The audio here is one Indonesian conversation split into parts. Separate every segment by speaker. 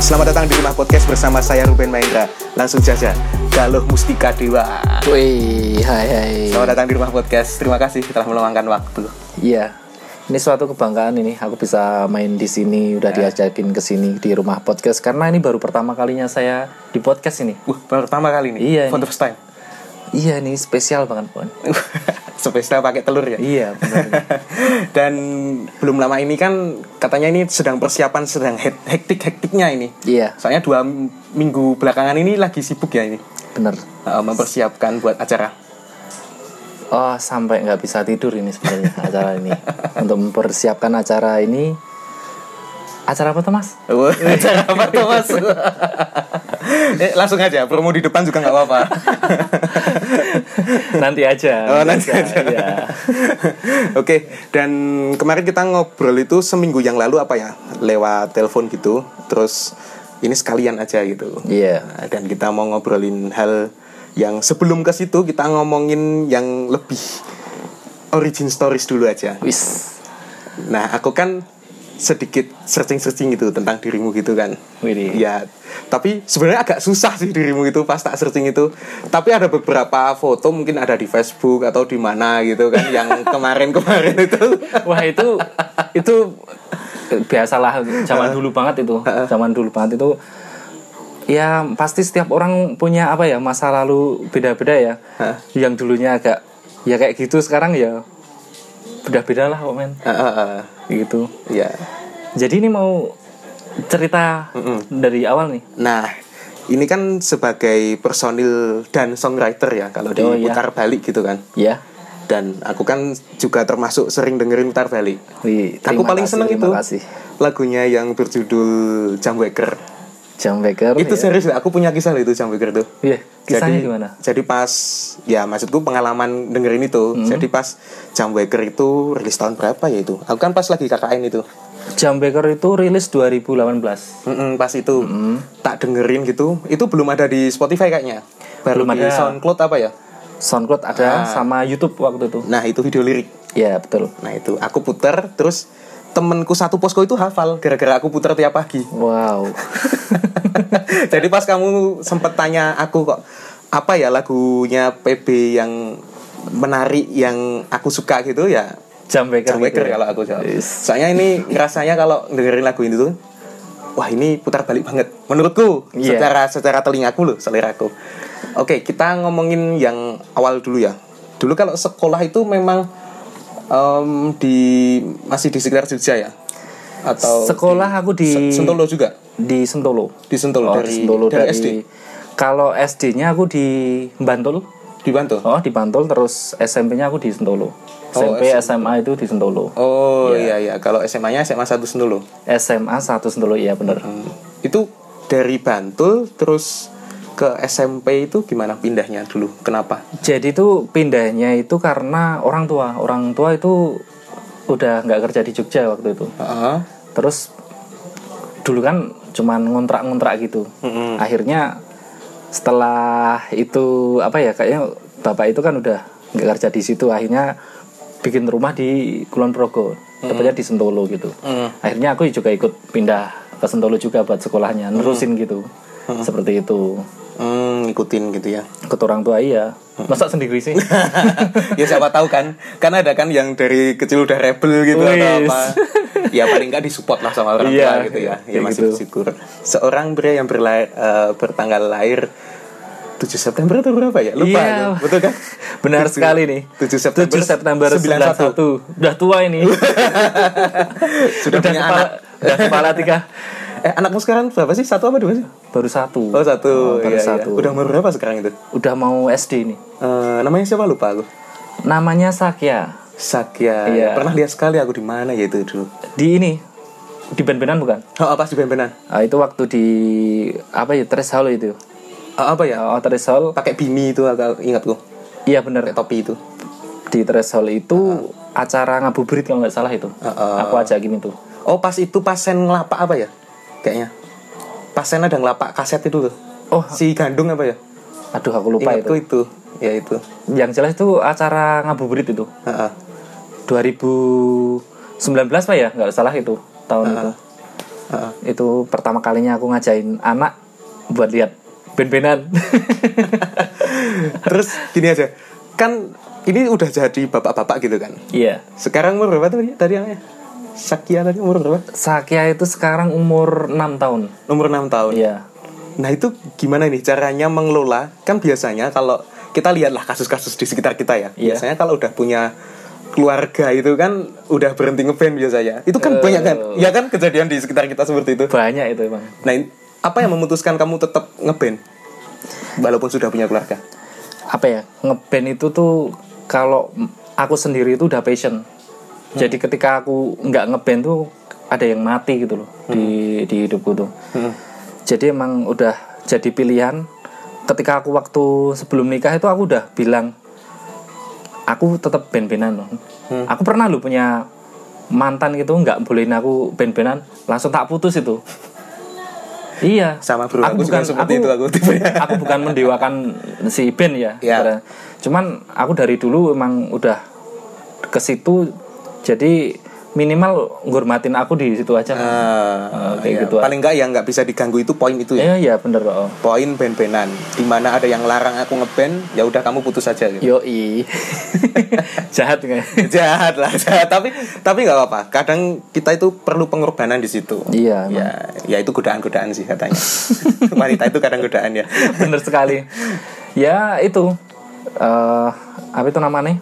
Speaker 1: Selamat datang di Rumah Podcast bersama saya Ruben Mahendra. Langsung saja, Galuh Mustika Dewa.
Speaker 2: Wih, hai hai.
Speaker 1: Selamat datang di Rumah Podcast. Terima kasih telah meluangkan waktu.
Speaker 2: Iya. Ini suatu kebanggaan ini aku bisa main di sini, udah diajakin ke sini di rumah podcast karena ini baru pertama kalinya saya di podcast ini.
Speaker 1: Wah, pertama kali ini.
Speaker 2: Iya,
Speaker 1: For
Speaker 2: ini.
Speaker 1: the first time.
Speaker 2: Iya, ini spesial banget, Pon.
Speaker 1: Spesial pakai telur ya.
Speaker 2: Iya, benar.
Speaker 1: Dan belum lama ini kan katanya ini sedang persiapan sedang he- hektik-hektiknya ini.
Speaker 2: iya,
Speaker 1: Soalnya dua minggu belakangan ini lagi sibuk ya ini
Speaker 2: benar.
Speaker 1: uh, mempersiapkan buat acara.
Speaker 2: Oh, sampai nggak bisa tidur ini sebenarnya acara ini. Untuk mempersiapkan acara ini acara apa tuh, Mas?
Speaker 1: Wah, acara apa tuh mas? eh, langsung aja promo di depan juga nggak apa-apa.
Speaker 2: nanti aja.
Speaker 1: Oh, nanti aja.
Speaker 2: Iya.
Speaker 1: Oke, dan kemarin kita ngobrol itu seminggu yang lalu apa ya? Lewat telepon gitu. Terus ini sekalian aja gitu.
Speaker 2: Iya.
Speaker 1: Nah, Dan kita mau ngobrolin hal yang sebelum ke situ kita ngomongin yang lebih origin stories dulu aja.
Speaker 2: Wis.
Speaker 1: Nah, aku kan sedikit searching-searching gitu tentang dirimu gitu kan.
Speaker 2: Widih.
Speaker 1: Ya, tapi sebenarnya agak susah sih dirimu itu pas tak searching itu. Tapi ada beberapa foto mungkin ada di Facebook atau di mana gitu kan yang kemarin-kemarin itu.
Speaker 2: Wah itu itu biasalah zaman dulu banget itu, zaman dulu banget itu. Ya pasti setiap orang punya apa ya masa lalu beda-beda ya.
Speaker 1: Hah?
Speaker 2: Yang dulunya agak ya kayak gitu sekarang ya beda-beda lah kok men
Speaker 1: Eh, eh, eh,
Speaker 2: gitu.
Speaker 1: Ya.
Speaker 2: Jadi ini mau cerita dari awal nih.
Speaker 1: Nah, ini kan sebagai personil dan songwriter ya kalau
Speaker 2: Oh, iya.
Speaker 1: diputar balik gitu kan.
Speaker 2: Ya.
Speaker 1: Dan aku kan juga termasuk sering dengerin putar balik.
Speaker 2: Wih,
Speaker 1: Aku
Speaker 2: terima
Speaker 1: paling
Speaker 2: kasih,
Speaker 1: seneng
Speaker 2: terima
Speaker 1: itu
Speaker 2: kasih.
Speaker 1: lagunya yang berjudul Jam Waker.
Speaker 2: Jam Becker.
Speaker 1: itu
Speaker 2: ya.
Speaker 1: serius aku punya kisah loh itu Jam Waker tuh.
Speaker 2: Iya, kisahnya
Speaker 1: jadi,
Speaker 2: gimana?
Speaker 1: Jadi pas ya maksudku pengalaman dengerin itu.
Speaker 2: Hmm.
Speaker 1: Jadi pas Jam Waker itu rilis tahun berapa ya itu? Aku kan pas lagi KKN itu.
Speaker 2: Jam Becker itu rilis 2018.
Speaker 1: Mm-mm, pas itu
Speaker 2: Hmm.
Speaker 1: tak dengerin gitu. Itu belum ada di Spotify kayaknya. Baru
Speaker 2: Belum
Speaker 1: di
Speaker 2: ada.
Speaker 1: SoundCloud apa ya?
Speaker 2: SoundCloud
Speaker 1: Ah.
Speaker 2: ada sama YouTube waktu itu.
Speaker 1: Nah, itu video lirik.
Speaker 2: Ya, betul.
Speaker 1: Nah, itu aku puter terus temenku satu posko itu hafal gara-gara aku puter tiap pagi.
Speaker 2: Wow.
Speaker 1: Jadi pas kamu sempet tanya aku kok apa ya lagunya PB yang menarik yang aku suka gitu ya
Speaker 2: Jam Becker.
Speaker 1: Jam Waker
Speaker 2: gitu ya.
Speaker 1: kalau aku jawab.
Speaker 2: Yes.
Speaker 1: Soalnya ini rasanya kalau dengerin lagu ini tuh wah ini putar balik banget menurutku
Speaker 2: Iya.
Speaker 1: secara secara telingaku loh seleraku. Oke, kita ngomongin yang awal dulu ya. Dulu kalau sekolah itu memang em, di masih di sekitar Jogja ya atau
Speaker 2: Sekolah aku di
Speaker 1: Se- Sentolo juga
Speaker 2: di Sentolo.
Speaker 1: di Sentolo
Speaker 2: Oh,
Speaker 1: dari,
Speaker 2: di Sentolo
Speaker 1: dari
Speaker 2: dari,
Speaker 1: SD
Speaker 2: Kalau SD-nya aku di Bantul.
Speaker 1: di Bantul.
Speaker 2: Oh, di Bantul terus SMP-nya aku di Sentolo. SMP, SMA itu di Sentolo.
Speaker 1: Oh iya iya kalau SMA-nya SMA 1 Sentolo.
Speaker 2: SMA satu Sentolo iya bener
Speaker 1: Hmm. Itu dari Bantul terus ke SMP itu gimana pindahnya dulu? Kenapa?
Speaker 2: Jadi itu pindahnya itu karena orang tua. Orang tua itu udah nggak kerja di Jogja waktu itu.
Speaker 1: Heeh.
Speaker 2: terus dulu kan cuman ngontrak-ngontrak gitu akhirnya setelah itu apa ya kayaknya bapak itu kan udah nggak kerja di situ akhirnya bikin rumah di Kulon Progo
Speaker 1: Mm.
Speaker 2: tepatnya di Sentolo gitu akhirnya aku juga ikut pindah ke Sentolo juga buat sekolahnya
Speaker 1: Mm.
Speaker 2: nerusin gitu seperti itu
Speaker 1: Hmm, ngikutin gitu ya.
Speaker 2: ikut orang tua iya
Speaker 1: Mm.
Speaker 2: masa sendiri sih
Speaker 1: ya siapa tahu kan? Kan ada kan yang dari kecil udah rebel gitu atau
Speaker 2: Wis.
Speaker 1: apa. Ya paling nggak disupport lah sama orang
Speaker 2: Iya,
Speaker 1: tua gitu ya. Ya
Speaker 2: kayak
Speaker 1: masih
Speaker 2: gitu.
Speaker 1: bersyukur. Seorang pria yang berlahir, eh, bertanggal lahir 7 September atau berapa ya? Lupa
Speaker 2: Iya.
Speaker 1: aku. Betul kan?
Speaker 2: benar
Speaker 1: Tujuh-
Speaker 2: sekali nih
Speaker 1: 7 September,
Speaker 2: 7 September
Speaker 1: 91.
Speaker 2: 91 udah tua ini
Speaker 1: Sudah punya
Speaker 2: kepala,
Speaker 1: anak.
Speaker 2: udah kepala tiga
Speaker 1: Eh anakmu sekarang berapa sih? Satu apa dua sih?
Speaker 2: baru satu
Speaker 1: Oh satu,
Speaker 2: baru
Speaker 1: Iya, iya.
Speaker 2: satu.
Speaker 1: Udah umur berapa sekarang itu?
Speaker 2: udah mau SD nih
Speaker 1: Eh, namanya siapa lupa aku.
Speaker 2: namanya Sakya
Speaker 1: Sakya.
Speaker 2: Iya.
Speaker 1: Pernah lihat sekali aku di mana ya itu dulu.
Speaker 2: di ini di ben-benan bukan
Speaker 1: Oh apa sih ben
Speaker 2: Ah, itu waktu di apa ya Tres Hall itu
Speaker 1: apa ya?
Speaker 2: oh Tres Hall
Speaker 1: Pakai bini itu aku ingatku.
Speaker 2: iya
Speaker 1: Pakai
Speaker 2: bener
Speaker 1: topi itu.
Speaker 2: di Tres Hall itu acara ngabuburit kalau nggak salah itu
Speaker 1: Ah,
Speaker 2: aku ajakin itu
Speaker 1: Oh pas itu pasen ngelapak apa ya? Kayaknya. Pasen ada ngelapak kaset itu tuh.
Speaker 2: oh
Speaker 1: Si gandung apa ya?
Speaker 2: aduh aku lupa itu
Speaker 1: Ingatku itu. Ya itu.
Speaker 2: yang jelas itu acara ngabuburit itu
Speaker 1: Heeh.
Speaker 2: 2019 pak ya nggak salah itu tahun itu
Speaker 1: Heeh.
Speaker 2: itu pertama kalinya aku ngajain anak buat lihat ben-benan
Speaker 1: Terus gini aja, kan ini udah jadi bapak-bapak gitu kan.
Speaker 2: iya
Speaker 1: Sekarang umur berapa ya? tadi? Tadi namanya? Sakia tadi umur berapa?
Speaker 2: Sakia itu sekarang umur 6 tahun
Speaker 1: Umur 6 tahun.
Speaker 2: iya
Speaker 1: Nah itu gimana nih caranya mengelola? Kan biasanya kalau kita lihatlah kasus-kasus di sekitar kita ya.
Speaker 2: Iya.
Speaker 1: Biasanya kalau udah punya keluarga itu kan udah berhenti ngeband biasanya. Itu kan banyak kan? Ya kan kejadian di sekitar kita seperti itu.
Speaker 2: banyak itu emang
Speaker 1: Nah in- apa yang memutuskan kamu tetap ngeband? Walaupun sudah punya keluarga.
Speaker 2: apa ya ngeband itu tuh kalau aku sendiri itu udah passion
Speaker 1: Hmm.
Speaker 2: jadi ketika aku nggak ngeband tuh ada yang mati gitu loh di
Speaker 1: Hmm.
Speaker 2: di hidupku tuh jadi emang udah jadi pilihan ketika aku waktu sebelum nikah itu aku udah bilang aku tetap band-bandan loh
Speaker 1: Hmm.
Speaker 2: aku pernah loh punya mantan gitu nggak bolehin aku band-bandan langsung tak putus itu iya
Speaker 1: Sama bro, aku, juga seperti itu aku tipenya.
Speaker 2: aku bukan mendewakan si Ben ya.
Speaker 1: Ya.
Speaker 2: sebenarnya. Cuman aku dari dulu emang udah ke situ jadi minimal ngurmatin aku di situ aja.
Speaker 1: Ah,
Speaker 2: kayak
Speaker 1: iya.
Speaker 2: gitu aja.
Speaker 1: Paling nggak yang nggak bisa diganggu itu poin itu ya.
Speaker 2: Iya iya bener oh.
Speaker 1: Poin band-bandan. Dimana ada yang larang aku ngeband, ya udah kamu putus aja gitu.
Speaker 2: Yoi. Jahat enggak?
Speaker 1: jahat lah jahat. tapi tapi nggak apa-apa kadang kita itu perlu pengorbanan di situ
Speaker 2: Iya, emang.
Speaker 1: ya ya itu godaan-godaan sih katanya wanita itu kadang godaan ya
Speaker 2: bener sekali. Ya itu eh apa itu namanya?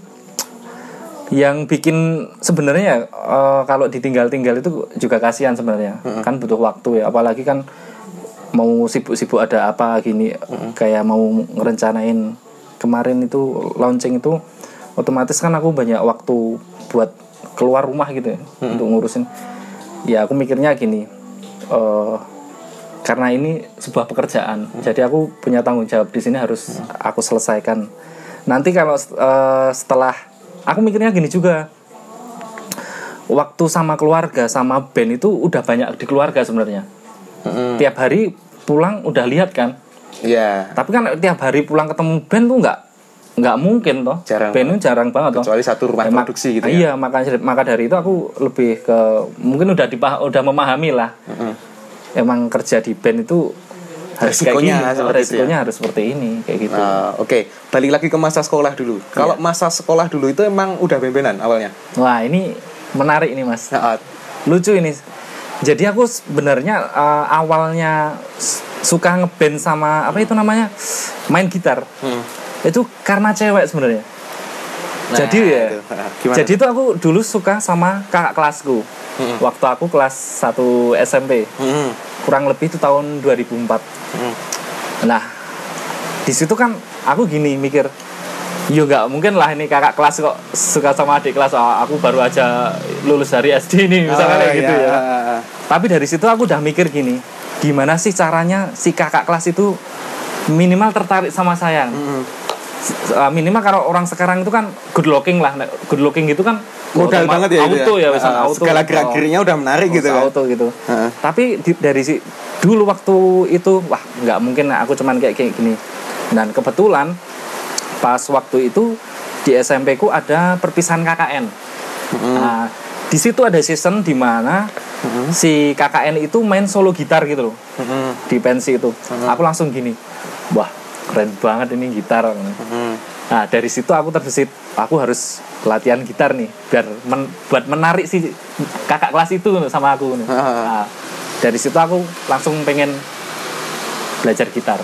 Speaker 2: Yang bikin sebenarnya eh, kalau ditinggal-tinggal itu juga kasihan sebenarnya. Kan butuh waktu ya, apalagi kan mau sibuk-sibuk ada apa gini kayak mau ngerencanain kemarin itu launching itu otomatis kan aku banyak waktu buat keluar rumah gitu ya untuk ngurusin. Ya aku mikirnya gini. eh karena ini sebuah pekerjaan jadi aku punya tanggung jawab di sini harus aku selesaikan nanti kalau eh, setelah aku mikirnya gini juga waktu sama keluarga sama band itu udah banyak di keluarga sebenarnya
Speaker 1: Mm-mm.
Speaker 2: tiap hari pulang udah lihat kan
Speaker 1: ya
Speaker 2: tapi kan tiap hari pulang ketemu band tuh nggak nggak mungkin toh
Speaker 1: Jarang
Speaker 2: band itu jarang banget toh
Speaker 1: kecuali satu rumah
Speaker 2: Eh, mak-
Speaker 1: produksi gitu ya
Speaker 2: iya maka maka dari itu aku lebih ke mungkin udah dipa- udah memahami lah
Speaker 1: Mm-mm.
Speaker 2: emang kerja di band itu harus
Speaker 1: Resikonya
Speaker 2: kayak gini,
Speaker 1: seperti itu
Speaker 2: resikonya harus seperti ini kayak gitu.
Speaker 1: Nah, oke balik lagi ke masa sekolah dulu kalau
Speaker 2: Iya.
Speaker 1: masa sekolah dulu itu emang udah bembenan awalnya
Speaker 2: Wah ini menarik ini mas,
Speaker 1: Nah, ah,
Speaker 2: lucu ini. Jadi aku sebenarnya eh, awalnya s- suka ngeband sama apa itu namanya main gitar.
Speaker 1: mm.
Speaker 2: Itu karena cewek sebenarnya.
Speaker 1: Nah,
Speaker 2: Jadi ya.
Speaker 1: itu. Ah, gimana
Speaker 2: Jadi itu aku dulu suka sama kakak kelasku.
Speaker 1: Mm-mm.
Speaker 2: Waktu aku kelas 1 SMP,
Speaker 1: Mm-mm.
Speaker 2: kurang lebih itu tahun 2004.
Speaker 1: Mm.
Speaker 2: Nah, di situ kan aku gini mikir, yo nggak mungkin lah ini kakak kelas kok suka sama adik kelas. Ah, aku baru aja lulus dari SD ini misalnya
Speaker 1: Ah,
Speaker 2: kayak gitu
Speaker 1: iya.
Speaker 2: ya. Tapi dari situ aku udah mikir gini, gimana sih caranya si kakak kelas itu minimal tertarik sama saya.
Speaker 1: Mm-mm.
Speaker 2: S- eh, Minimal kalau orang sekarang itu kan good looking lah, good looking gitu kan
Speaker 1: modal
Speaker 2: automa-
Speaker 1: banget ya itu
Speaker 2: auto ya,
Speaker 1: Ah,
Speaker 2: pesan auto.
Speaker 1: segala
Speaker 2: Oh,
Speaker 1: gerak-geriknya udah menarik gitu kan
Speaker 2: auto gitu
Speaker 1: Heeh.
Speaker 2: tapi di- dari si dulu waktu itu wah nggak mungkin aku cuman kayak kayak gini dan kebetulan pas waktu itu di SMP ku ada perpisahan KKN
Speaker 1: Mm-hmm.
Speaker 2: nah, di situ ada season di mana si KKN itu main solo gitar gitu loh
Speaker 1: Mm-mm.
Speaker 2: di pensi itu
Speaker 1: Mm-hmm.
Speaker 2: aku langsung gini wah keren banget ini gitar
Speaker 1: Mm-mm.
Speaker 2: nah dari situ aku terbesit aku harus latihan gitar nih biar men- buat menarik si kakak kelas itu sama aku nih.
Speaker 1: Ah.
Speaker 2: Nah, dari situ aku langsung pengen belajar gitar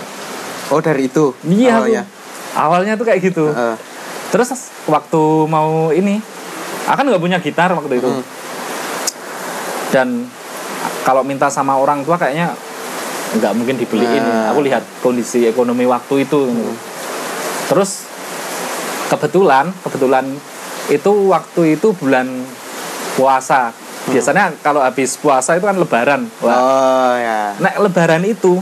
Speaker 1: oh dari itu
Speaker 2: iya aku
Speaker 1: awalnya.
Speaker 2: awalnya tuh kayak gitu
Speaker 1: Heeh.
Speaker 2: terus waktu mau ini akan nggak punya gitar waktu itu
Speaker 1: Hmm.
Speaker 2: dan kalau minta sama orang tua kayaknya nggak mungkin dibeliin
Speaker 1: Nah. Hmm.
Speaker 2: aku lihat kondisi ekonomi waktu itu terus kebetulan kebetulan itu waktu itu bulan puasa biasanya kalau habis puasa itu kan lebaran Wah,
Speaker 1: Hmm. Oh ya.
Speaker 2: Nek lebaran itu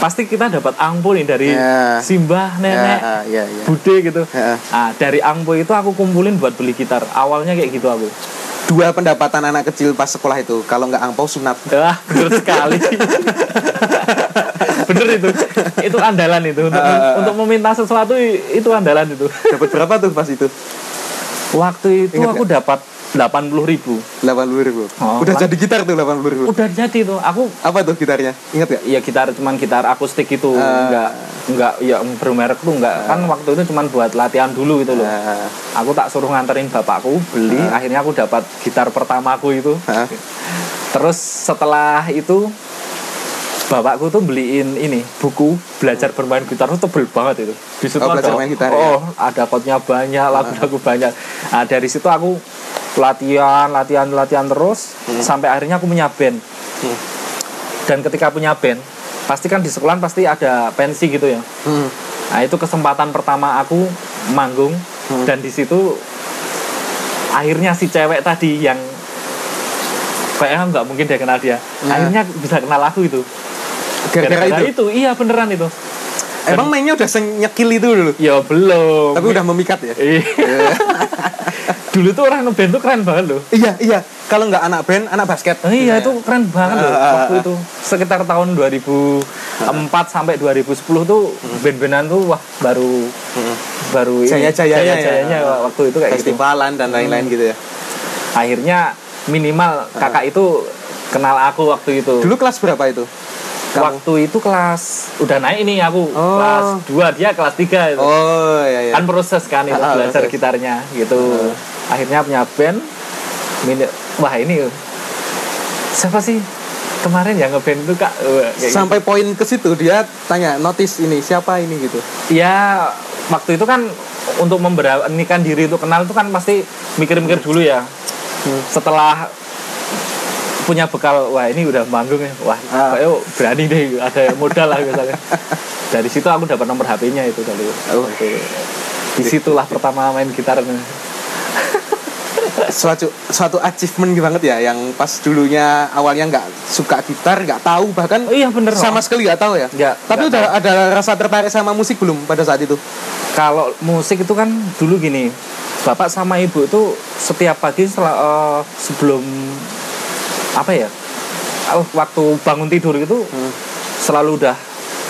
Speaker 2: pasti kita dapat angpo nih dari
Speaker 1: Ya.
Speaker 2: simbah nenek
Speaker 1: Ya, ya, ya.
Speaker 2: bude gitu.
Speaker 1: Ya.
Speaker 2: Ah, dari angpo itu aku kumpulin buat beli gitar. Awalnya kayak gitu aku.
Speaker 1: Dua pendapatan anak kecil pas sekolah itu, kalau nggak angpau sunat.
Speaker 2: Wah, bener sekali. bener itu. Itu andalan itu untuk untuk meminta sesuatu i- itu andalan itu.
Speaker 1: Dapat berapa tuh pas itu?
Speaker 2: Waktu itu
Speaker 1: Ingat
Speaker 2: aku dapat delapan puluh ribu
Speaker 1: delapan puluh ribu
Speaker 2: Oh,
Speaker 1: udah
Speaker 2: lan-
Speaker 1: jadi gitar tuh delapan puluh ribu
Speaker 2: udah jadi tuh aku
Speaker 1: apa tuh gitarnya ingat gak
Speaker 2: ya gitar cuman gitar akustik itu nggak nggak ya bermerek tuh nggak kan waktu itu cuman buat latihan dulu gitu loh
Speaker 1: Ah,
Speaker 2: aku tak suruh nganterin bapakku beli akhirnya aku dapat gitar pertamaku itu
Speaker 1: ah.
Speaker 2: terus setelah itu bapakku tuh beliin ini buku belajar bermain gitar tuh tebel banget itu di situ
Speaker 1: Oh, belajar
Speaker 2: ada
Speaker 1: main gitar, ya?
Speaker 2: oh ada chordnya banyak lagu-lagu banyak nah, dari situ aku latihan latihan latihan terus sampai akhirnya aku punya band
Speaker 1: Hmm.
Speaker 2: dan ketika punya band pasti kan di sekolahan pasti ada pensi gitu ya
Speaker 1: Hmm.
Speaker 2: Nah itu kesempatan pertama aku manggung
Speaker 1: Hmm.
Speaker 2: dan di situ akhirnya si cewek tadi yang kayaknya nggak mungkin dia kenal dia.
Speaker 1: Nah.
Speaker 2: Akhirnya bisa kenal aku itu.
Speaker 1: gara-gara itu
Speaker 2: iya beneran itu.
Speaker 1: emang mainnya udah senyekil itu dulu
Speaker 2: Ya belum.
Speaker 1: tapi udah memikat ya
Speaker 2: Iya. Dulu tuh orang ngeband tuh keren banget loh.
Speaker 1: iya iya kalau nggak anak band anak basket
Speaker 2: Oh, iya itu
Speaker 1: biasanya.
Speaker 2: keren banget loh
Speaker 1: Ah, ah,
Speaker 2: waktu
Speaker 1: ah.
Speaker 2: itu. Sekitar tahun 2004 sampai 2010 tuh band-bandan tuh wah baru
Speaker 1: Hmm.
Speaker 2: baru ini,
Speaker 1: Jaya-jayanya ya.
Speaker 2: jaya-jayanya waktu itu kayak gitu.
Speaker 1: festivalan dan lain-lain gitu ya
Speaker 2: akhirnya minimal kakak itu kenal aku waktu itu
Speaker 1: dulu kelas berapa itu kamu
Speaker 2: waktu itu kelas udah naik ini aku
Speaker 1: Oh.
Speaker 2: kelas 2 dia kelas 3 itu
Speaker 1: oh iya iya
Speaker 2: kan proses kan itu
Speaker 1: Ah, ah,
Speaker 2: belajar
Speaker 1: proses. Ah.
Speaker 2: gitarnya gitu akhirnya punya band Mini- wah ini siapa sih kemarin yang ngeband itu kak Wah, kayak gitu.
Speaker 1: sampai poin ke situ dia tanya notice ini siapa ini gitu
Speaker 2: ya waktu itu kan untuk memberanikan diri untuk kenal itu kan pasti mikir-mikir dulu ya setelah punya bekal wah ini udah manggung ya wah
Speaker 1: Ah.
Speaker 2: kayaknya berani deh ada yang modal lah misalnya dari situ aku dapat nomor HP-nya itu dari
Speaker 1: Oh.
Speaker 2: dari- disitulah pertama main gitar
Speaker 1: suatu suatu achievement banget ya yang pas dulunya awalnya nggak suka gitar nggak tahu bahkan
Speaker 2: Oh iya, bener.
Speaker 1: sama sekali nggak tahu ya
Speaker 2: Nggak,
Speaker 1: tapi
Speaker 2: nggak
Speaker 1: udah ada rasa tertarik sama musik belum pada saat itu
Speaker 2: kalau musik itu kan dulu gini bapak sama ibu itu setiap pagi sel- eh, sebelum apa ya eh, waktu bangun tidur itu
Speaker 1: Hmm.
Speaker 2: selalu udah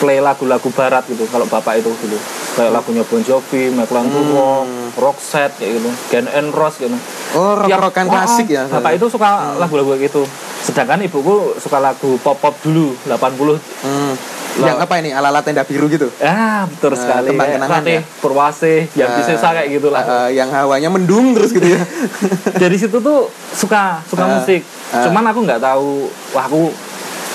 Speaker 2: play lagu-lagu barat gitu kalau bapak itu dulu kayak lagunya Bon Jovi, Michael Antuvo,
Speaker 1: Hmm.
Speaker 2: Roxette kayak gitu, Gen N' Rose gitu.
Speaker 1: oh rock
Speaker 2: Tiap-
Speaker 1: rockan
Speaker 2: Oh,
Speaker 1: klasik ya
Speaker 2: Bapak itu suka lagu-lagu kayak gitu. Sedangkan ibuku suka lagu pop-pop dulu 80
Speaker 1: Hmm. yang apa ini ala ala tenda biru gitu
Speaker 2: Ah,
Speaker 1: Eh,
Speaker 2: betul sekali.
Speaker 1: tembang
Speaker 2: Kayak
Speaker 1: kenangan
Speaker 2: Ratih,
Speaker 1: ya?
Speaker 2: Purwasih, yang
Speaker 1: Eh,
Speaker 2: bisa kayak gitulah.
Speaker 1: Eh, yang hawanya mendung terus gitu ya
Speaker 2: dari situ tuh suka suka
Speaker 1: Ah,
Speaker 2: musik
Speaker 1: ah.
Speaker 2: cuman aku nggak tahu wah aku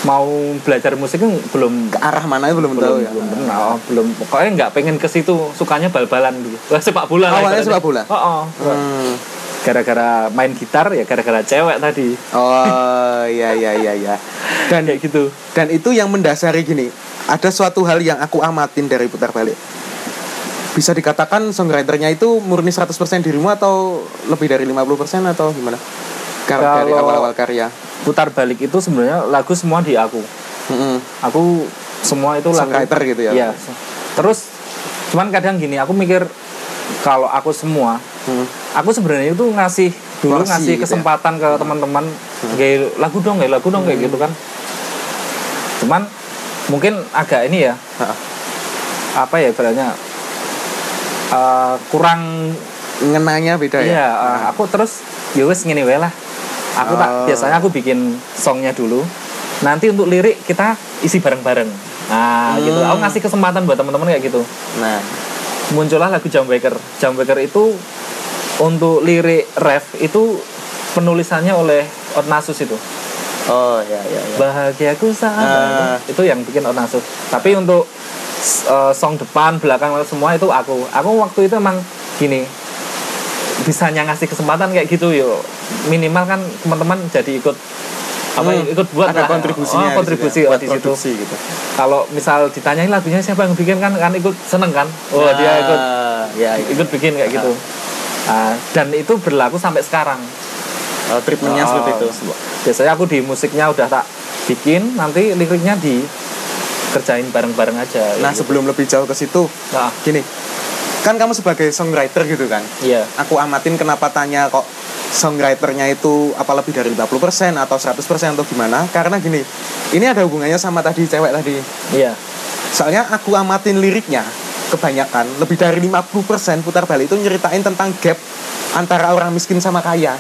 Speaker 2: mau belajar musik kan belum
Speaker 1: ke arah mana belum,
Speaker 2: belum
Speaker 1: tahu ya
Speaker 2: belum kenal belum pokoknya nggak pengen ke situ sukanya bal-balan dulu Wah, sepak bola lah
Speaker 1: Awalnya
Speaker 2: ibaratnya.
Speaker 1: sepak bola?
Speaker 2: oh, oh.
Speaker 1: Hmm.
Speaker 2: gara-gara main gitar ya gara-gara cewek tadi
Speaker 1: oh iya iya iya iya
Speaker 2: dan kayak gitu
Speaker 1: Dan itu yang mendasari gini, ada suatu hal yang aku amatin dari putar balik. Bisa dikatakan songwriternya itu murni 100% dirimu atau lebih dari 50% atau gimana? Kalau dari
Speaker 2: Kalau-
Speaker 1: awal-awal karya.
Speaker 2: putar balik itu sebenarnya lagu semua di aku
Speaker 1: Mm-mm.
Speaker 2: aku semua itu lagu
Speaker 1: Songwriter gitu ya?
Speaker 2: Iya. terus cuman kadang gini aku mikir kalau aku semua
Speaker 1: Mm.
Speaker 2: aku sebenarnya itu ngasih dulu
Speaker 1: Porsi
Speaker 2: ngasih
Speaker 1: gitu ya. Hmm.
Speaker 2: kesempatan ke teman-teman kayak lagu dong kayak lagu dong kayak gitu kan cuman mungkin agak ini ya
Speaker 1: Ha.
Speaker 2: apa ya ibaratnya eh, kurang
Speaker 1: Ngenanya beda
Speaker 2: Iya,
Speaker 1: ya.
Speaker 2: eh, aku terus ya wes ngene wae lah. Aku tak
Speaker 1: Oh.
Speaker 2: biasanya aku bikin songnya dulu. Nanti untuk lirik kita isi bareng-bareng. Nah, gitu.
Speaker 1: Hmm.
Speaker 2: Aku ngasih kesempatan buat teman-teman kayak gitu.
Speaker 1: Nah,
Speaker 2: Muncullah lagu Jam Waker. Jam Waker itu untuk lirik ref itu penulisannya oleh Ornasus itu.
Speaker 1: oh ya ya ya.
Speaker 2: Bahagiaku
Speaker 1: Ah.
Speaker 2: saat itu yang bikin Ornasus. Tapi untuk eh, song depan, belakang semua itu aku. Aku waktu itu emang gini bisanya ngasih kesempatan kayak gitu yo minimal kan teman-teman jadi ikut apa
Speaker 1: Hmm,
Speaker 2: ikut buat
Speaker 1: ada
Speaker 2: lah.
Speaker 1: kontribusinya
Speaker 2: Oh, kontribusi
Speaker 1: gitu ya,
Speaker 2: oh,
Speaker 1: buat
Speaker 2: di situ
Speaker 1: produksi gitu.
Speaker 2: kalau misal ditanyain lagunya siapa yang bikin kan kan ikut seneng kan oh dia ikut
Speaker 1: Ah, ya, ya.
Speaker 2: ikut bikin kayak gitu Ah, dan itu berlaku sampai sekarang
Speaker 1: Oh, treatmentnya
Speaker 2: Oh,
Speaker 1: seperti itu.
Speaker 2: biasanya aku di musiknya udah tak bikin nanti liriknya di kerjain bareng-bareng aja
Speaker 1: Nah, sebelum lebih jauh ke situ,
Speaker 2: nah
Speaker 1: gini. Kan kamu sebagai songwriter gitu kan.
Speaker 2: iya
Speaker 1: aku amatin kenapa tanya kok songwriternya itu apa lebih dari 50% atau 100% atau gimana karena gini ini ada hubungannya sama tadi cewek tadi
Speaker 2: iya
Speaker 1: soalnya aku amatin liriknya kebanyakan lebih dari 50% putar balik itu nyeritain tentang gap antara orang miskin sama kaya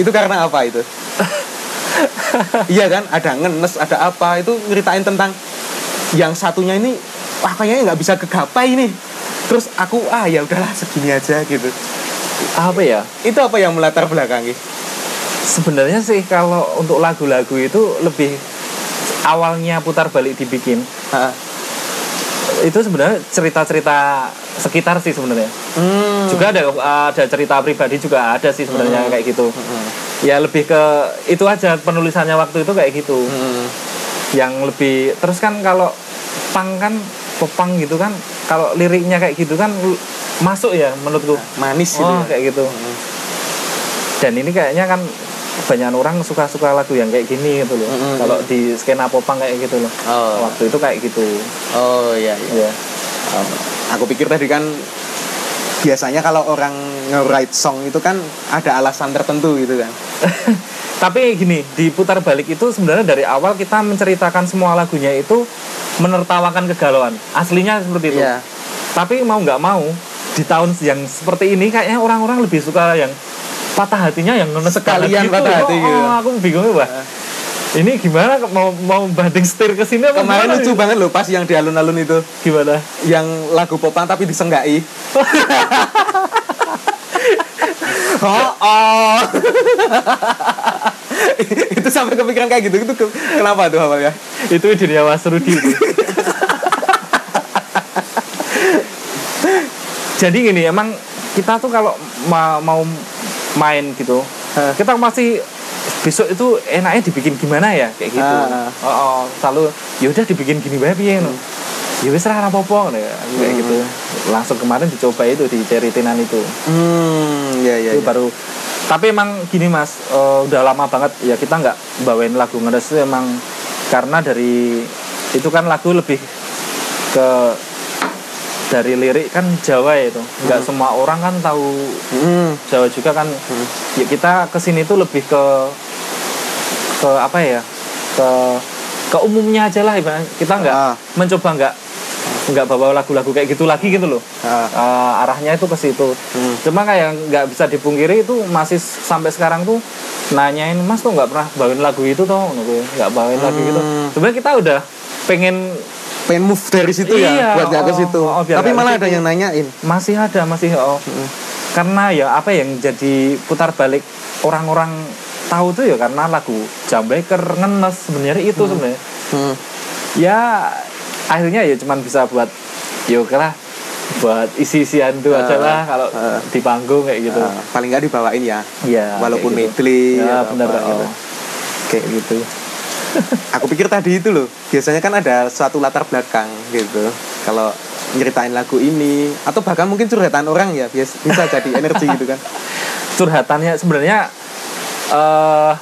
Speaker 1: itu karena apa itu iya kan ada ngenes ada apa itu ngeritain tentang yang satunya ini wah kayaknya nggak bisa kegapai nih terus aku ah ya udahlah segini aja gitu
Speaker 2: apa ya
Speaker 1: itu apa yang melatar belakangi
Speaker 2: sebenarnya sih kalau untuk lagu-lagu itu lebih awalnya putar balik dibikin
Speaker 1: Ah.
Speaker 2: itu sebenarnya cerita-cerita sekitar sih sebenarnya
Speaker 1: Hmm.
Speaker 2: juga ada ada cerita pribadi juga ada sih sebenarnya kayak gitu ya lebih ke itu aja penulisannya waktu itu kayak gitu
Speaker 1: Hmm.
Speaker 2: yang lebih terus kan kalau pang kan popang gitu kan kalau liriknya kayak gitu kan lu- masuk ya menurutku
Speaker 1: manis gitu
Speaker 2: oh
Speaker 1: ya.
Speaker 2: kayak gitu dan ini kayaknya kan banyak orang suka-suka lagu yang kayak gini gitu loh
Speaker 1: Mm-mm.
Speaker 2: kalau di skena popang kayak gitu loh
Speaker 1: oh
Speaker 2: waktu itu kayak gitu
Speaker 1: oh iya, iya.
Speaker 2: ya
Speaker 1: Um, aku pikir tadi kan biasanya kalau orang nge-write song itu kan ada alasan tertentu gitu kan
Speaker 2: tapi gini diputar balik itu sebenarnya dari awal kita menceritakan semua lagunya itu menertawakan kegalauan aslinya seperti itu
Speaker 1: iya
Speaker 2: tapi mau nggak mau di tahun yang seperti ini kayaknya orang-orang lebih suka yang patah hatinya yang ngenes
Speaker 1: Sekalian
Speaker 2: banget
Speaker 1: patah hati
Speaker 2: Oh,
Speaker 1: gitu.
Speaker 2: oh, aku bingung wah ini gimana mau mau banding setir ke sini apa
Speaker 1: kemarin
Speaker 2: gimana
Speaker 1: lucu
Speaker 2: ini?
Speaker 1: banget loh pas yang di alun-alun itu
Speaker 2: gimana
Speaker 1: yang lagu popang tapi disenggai oh, oh. itu sampai kepikiran kayak gitu itu ke- kenapa tuh awalnya
Speaker 2: itu idenya Mas Rudi itu. jadi gini emang kita tuh kalau ma- mau main gitu
Speaker 1: Hah.
Speaker 2: kita masih besok itu enaknya dibikin gimana ya kayak gitu
Speaker 1: Ah, ah.
Speaker 2: oh, oh, selalu yaudah dibikin gini bae piye no. ya wis lah ora apa-apa gitu ya. kayak gitu langsung kemarin dicoba itu di ceritinan itu
Speaker 1: hmm ya ya,
Speaker 2: itu baru tapi emang gini mas eh, udah lama banget ya kita nggak bawain lagu ngeres itu emang karena dari itu kan lagu lebih ke dari lirik kan Jawa ya itu nggak semua orang kan tahu
Speaker 1: Hmm.
Speaker 2: Jawa juga kan ya kita kesini tuh lebih ke ke apa ya ke ke umumnya aja lah ibaratnya. kita nggak
Speaker 1: Ah.
Speaker 2: mencoba nggak nggak bawa lagu-lagu kayak gitu lagi gitu loh
Speaker 1: Ah.
Speaker 2: Eh, arahnya itu ke situ. Cuma kayak nggak bisa dipungkiri itu masih s- sampai sekarang tuh nanyain Mas tuh nggak pernah bawain lagu itu toh, Ngono gue, nggak bawain lagu itu.
Speaker 1: Hmm.
Speaker 2: Sebenarnya kita udah pengen
Speaker 1: pengen move dari situ
Speaker 2: Iya,
Speaker 1: ya buat nggak ke
Speaker 2: oh,
Speaker 1: situ
Speaker 2: oh, biar
Speaker 1: tapi
Speaker 2: nggak
Speaker 1: malah
Speaker 2: ke
Speaker 1: ada yang nanyain
Speaker 2: masih ada masih oh.
Speaker 1: Hmm.
Speaker 2: karena ya apa yang jadi putar balik orang-orang tahu tuh ya karena lagu Jambeker ngenes sebenarnya itu sebenarnya
Speaker 1: Hmm.
Speaker 2: ya akhirnya ya cuman bisa buat yuk lah buat isi-isian tuh aja lah kalau
Speaker 1: ah.
Speaker 2: di panggung kayak gitu
Speaker 1: Ah, paling nggak dibawain ya
Speaker 2: Iya,
Speaker 1: walaupun
Speaker 2: kayak gitu.
Speaker 1: medley
Speaker 2: ya
Speaker 1: atau
Speaker 2: benar
Speaker 1: apa
Speaker 2: oh.
Speaker 1: gitu.
Speaker 2: kayak gitu
Speaker 1: aku pikir tadi itu loh biasanya kan ada suatu latar belakang gitu kalau nyeritain lagu ini atau bahkan mungkin curhatan orang ya bias- bisa jadi energi gitu kan
Speaker 2: curhatannya sebenarnya eh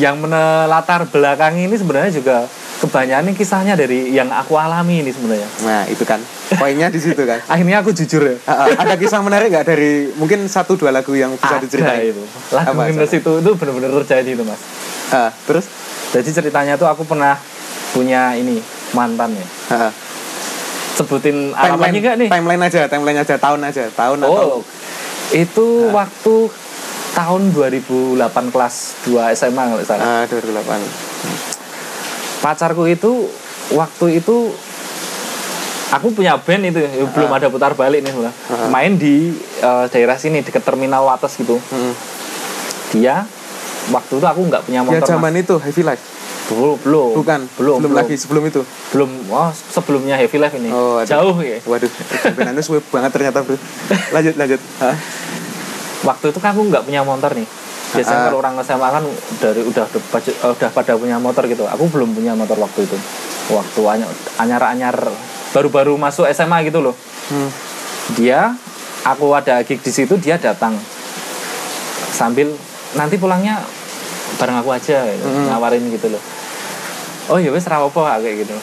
Speaker 2: yang menelatar belakang ini sebenarnya juga kebanyakan ini kisahnya dari yang aku alami ini sebenarnya
Speaker 1: nah itu kan poinnya di situ kan
Speaker 2: akhirnya aku jujur ya
Speaker 1: Ah, ah, ada kisah menarik nggak dari mungkin satu dua lagu yang bisa
Speaker 2: Ada ya.
Speaker 1: diceritain
Speaker 2: itu lagu
Speaker 1: Apa,
Speaker 2: minus itu itu benar-benar terjadi itu mas
Speaker 1: Ah, terus
Speaker 2: jadi ceritanya tuh aku pernah punya ini mantan ya
Speaker 1: Ah, ah.
Speaker 2: sebutin
Speaker 1: timeline
Speaker 2: alamatnya nggak nih
Speaker 1: timeline aja timeline aja tahun aja tahun atau Nah.
Speaker 2: oh itu waktu tahun 2008 kelas 2 SMA kalau nggak salah
Speaker 1: ah, 2008
Speaker 2: pacarku itu waktu itu aku punya band itu ya,
Speaker 1: Ah.
Speaker 2: belum ada putar balik nih sebenarnya. main di eh, daerah sini deket terminal atas gitu
Speaker 1: Hmm.
Speaker 2: dia waktu itu aku nggak punya
Speaker 1: ya
Speaker 2: motor
Speaker 1: zaman
Speaker 2: Mas.
Speaker 1: itu heavy life
Speaker 2: belum belum
Speaker 1: bukan
Speaker 2: belum belum
Speaker 1: lagi sebelum itu
Speaker 2: belum oh sebelumnya heavy life ini
Speaker 1: Oh, aduh.
Speaker 2: jauh ya
Speaker 1: waduh Benanus suwe banget ternyata bro lanjut lanjut Ah.
Speaker 2: waktu itu kan aku nggak punya motor nih biasanya
Speaker 1: Ah.
Speaker 2: kalau orang SMA kan dari udah eh, udah pada punya motor gitu aku belum punya motor waktu itu waktu anyar anyar anyar baru-baru masuk SMA gitu loh
Speaker 1: Hmm.
Speaker 2: dia aku ada gig di situ dia datang sambil nanti pulangnya bareng aku aja gitu, nawarin gitu loh oh ya wes ra apa kayak gitu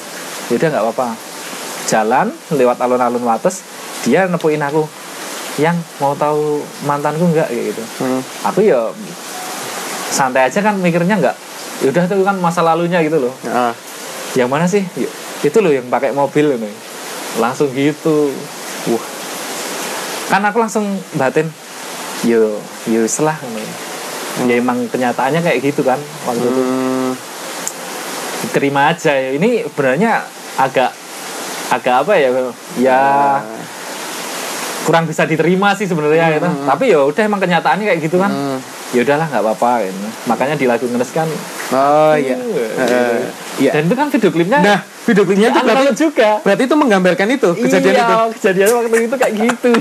Speaker 2: yaudah nggak apa-apa jalan lewat alun-alun wates dia nepuin aku yang mau tahu mantanku nggak kayak gitu
Speaker 1: Hmm.
Speaker 2: aku ya santai aja kan mikirnya nggak yaudah tuh kan masa lalunya gitu loh
Speaker 1: Ah.
Speaker 2: yang mana sih Yuk, itu loh yang pakai mobil ini langsung gitu wah kan aku langsung batin yo yo selah ini ya emang kenyataannya kayak gitu kan waktu itu
Speaker 1: Hmm,
Speaker 2: diterima aja ya. ini benarnya agak agak apa ya ya
Speaker 1: Ah. Hmm.
Speaker 2: kurang bisa diterima sih sebenarnya gitu. tapi ya udah emang kenyataannya kayak gitu kan
Speaker 1: hmm.
Speaker 2: ya udahlah nggak apa-apa gitu. makanya di lagu ngenes kan
Speaker 1: Oh iya. Eh, Iya.
Speaker 2: dan itu kan video klipnya
Speaker 1: Nah, video klipnya itu
Speaker 2: agak
Speaker 1: berarti
Speaker 2: lucu juga
Speaker 1: berarti itu menggambarkan itu kejadian
Speaker 2: iya,
Speaker 1: itu.
Speaker 2: kejadian waktu itu kayak gitu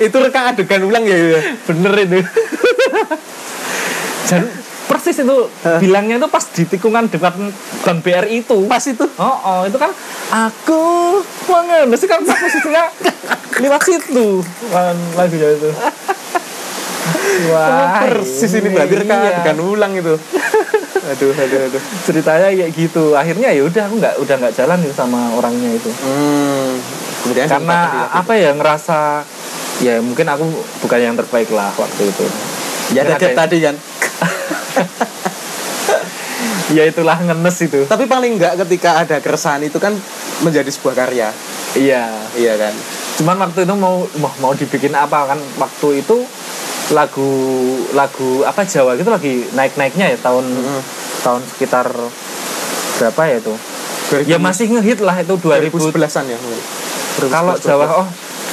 Speaker 1: itu reka adegan ulang ya. ya.
Speaker 2: bener itu dan persis itu bilangnya itu pas di tikungan dekat bank BRI itu
Speaker 1: Pas itu.
Speaker 2: Oh, oh, itu kan aku banget. Mesti kan posisinya lewat situ. Kan lagunya itu.
Speaker 1: Ah,
Speaker 2: Wah,
Speaker 1: Oh, persis ini berarti reka
Speaker 2: iya.
Speaker 1: adegan ulang itu. aduh, aduh, aduh.
Speaker 2: Ceritanya kayak gitu. Akhirnya ya udah aku nggak udah nggak jalan itu sama orangnya itu.
Speaker 1: Hmm. ah, Kemudian
Speaker 2: Karena
Speaker 1: sempat
Speaker 2: apa ya ngerasa ya mungkin aku bukan yang terbaik lah waktu itu.
Speaker 1: tadi- ya ada
Speaker 2: Kenapa
Speaker 1: tadi kan.
Speaker 2: Ya itulah ngenes itu.
Speaker 1: Tapi paling enggak ketika ada keresahan itu kan menjadi sebuah karya.
Speaker 2: Iya.
Speaker 1: Iya kan.
Speaker 2: cuman waktu itu mau mau, mau dibikin apa kan waktu itu lagu lagu apa Jawa gitu lagi naik naiknya ya tahun
Speaker 1: Mm.
Speaker 2: tahun sekitar berapa ya itu
Speaker 1: 2000
Speaker 2: ya masih ngehit lah itu 2000
Speaker 1: 2011-an ya. mungkin.
Speaker 2: kalau
Speaker 1: 2011.
Speaker 2: Jawa oh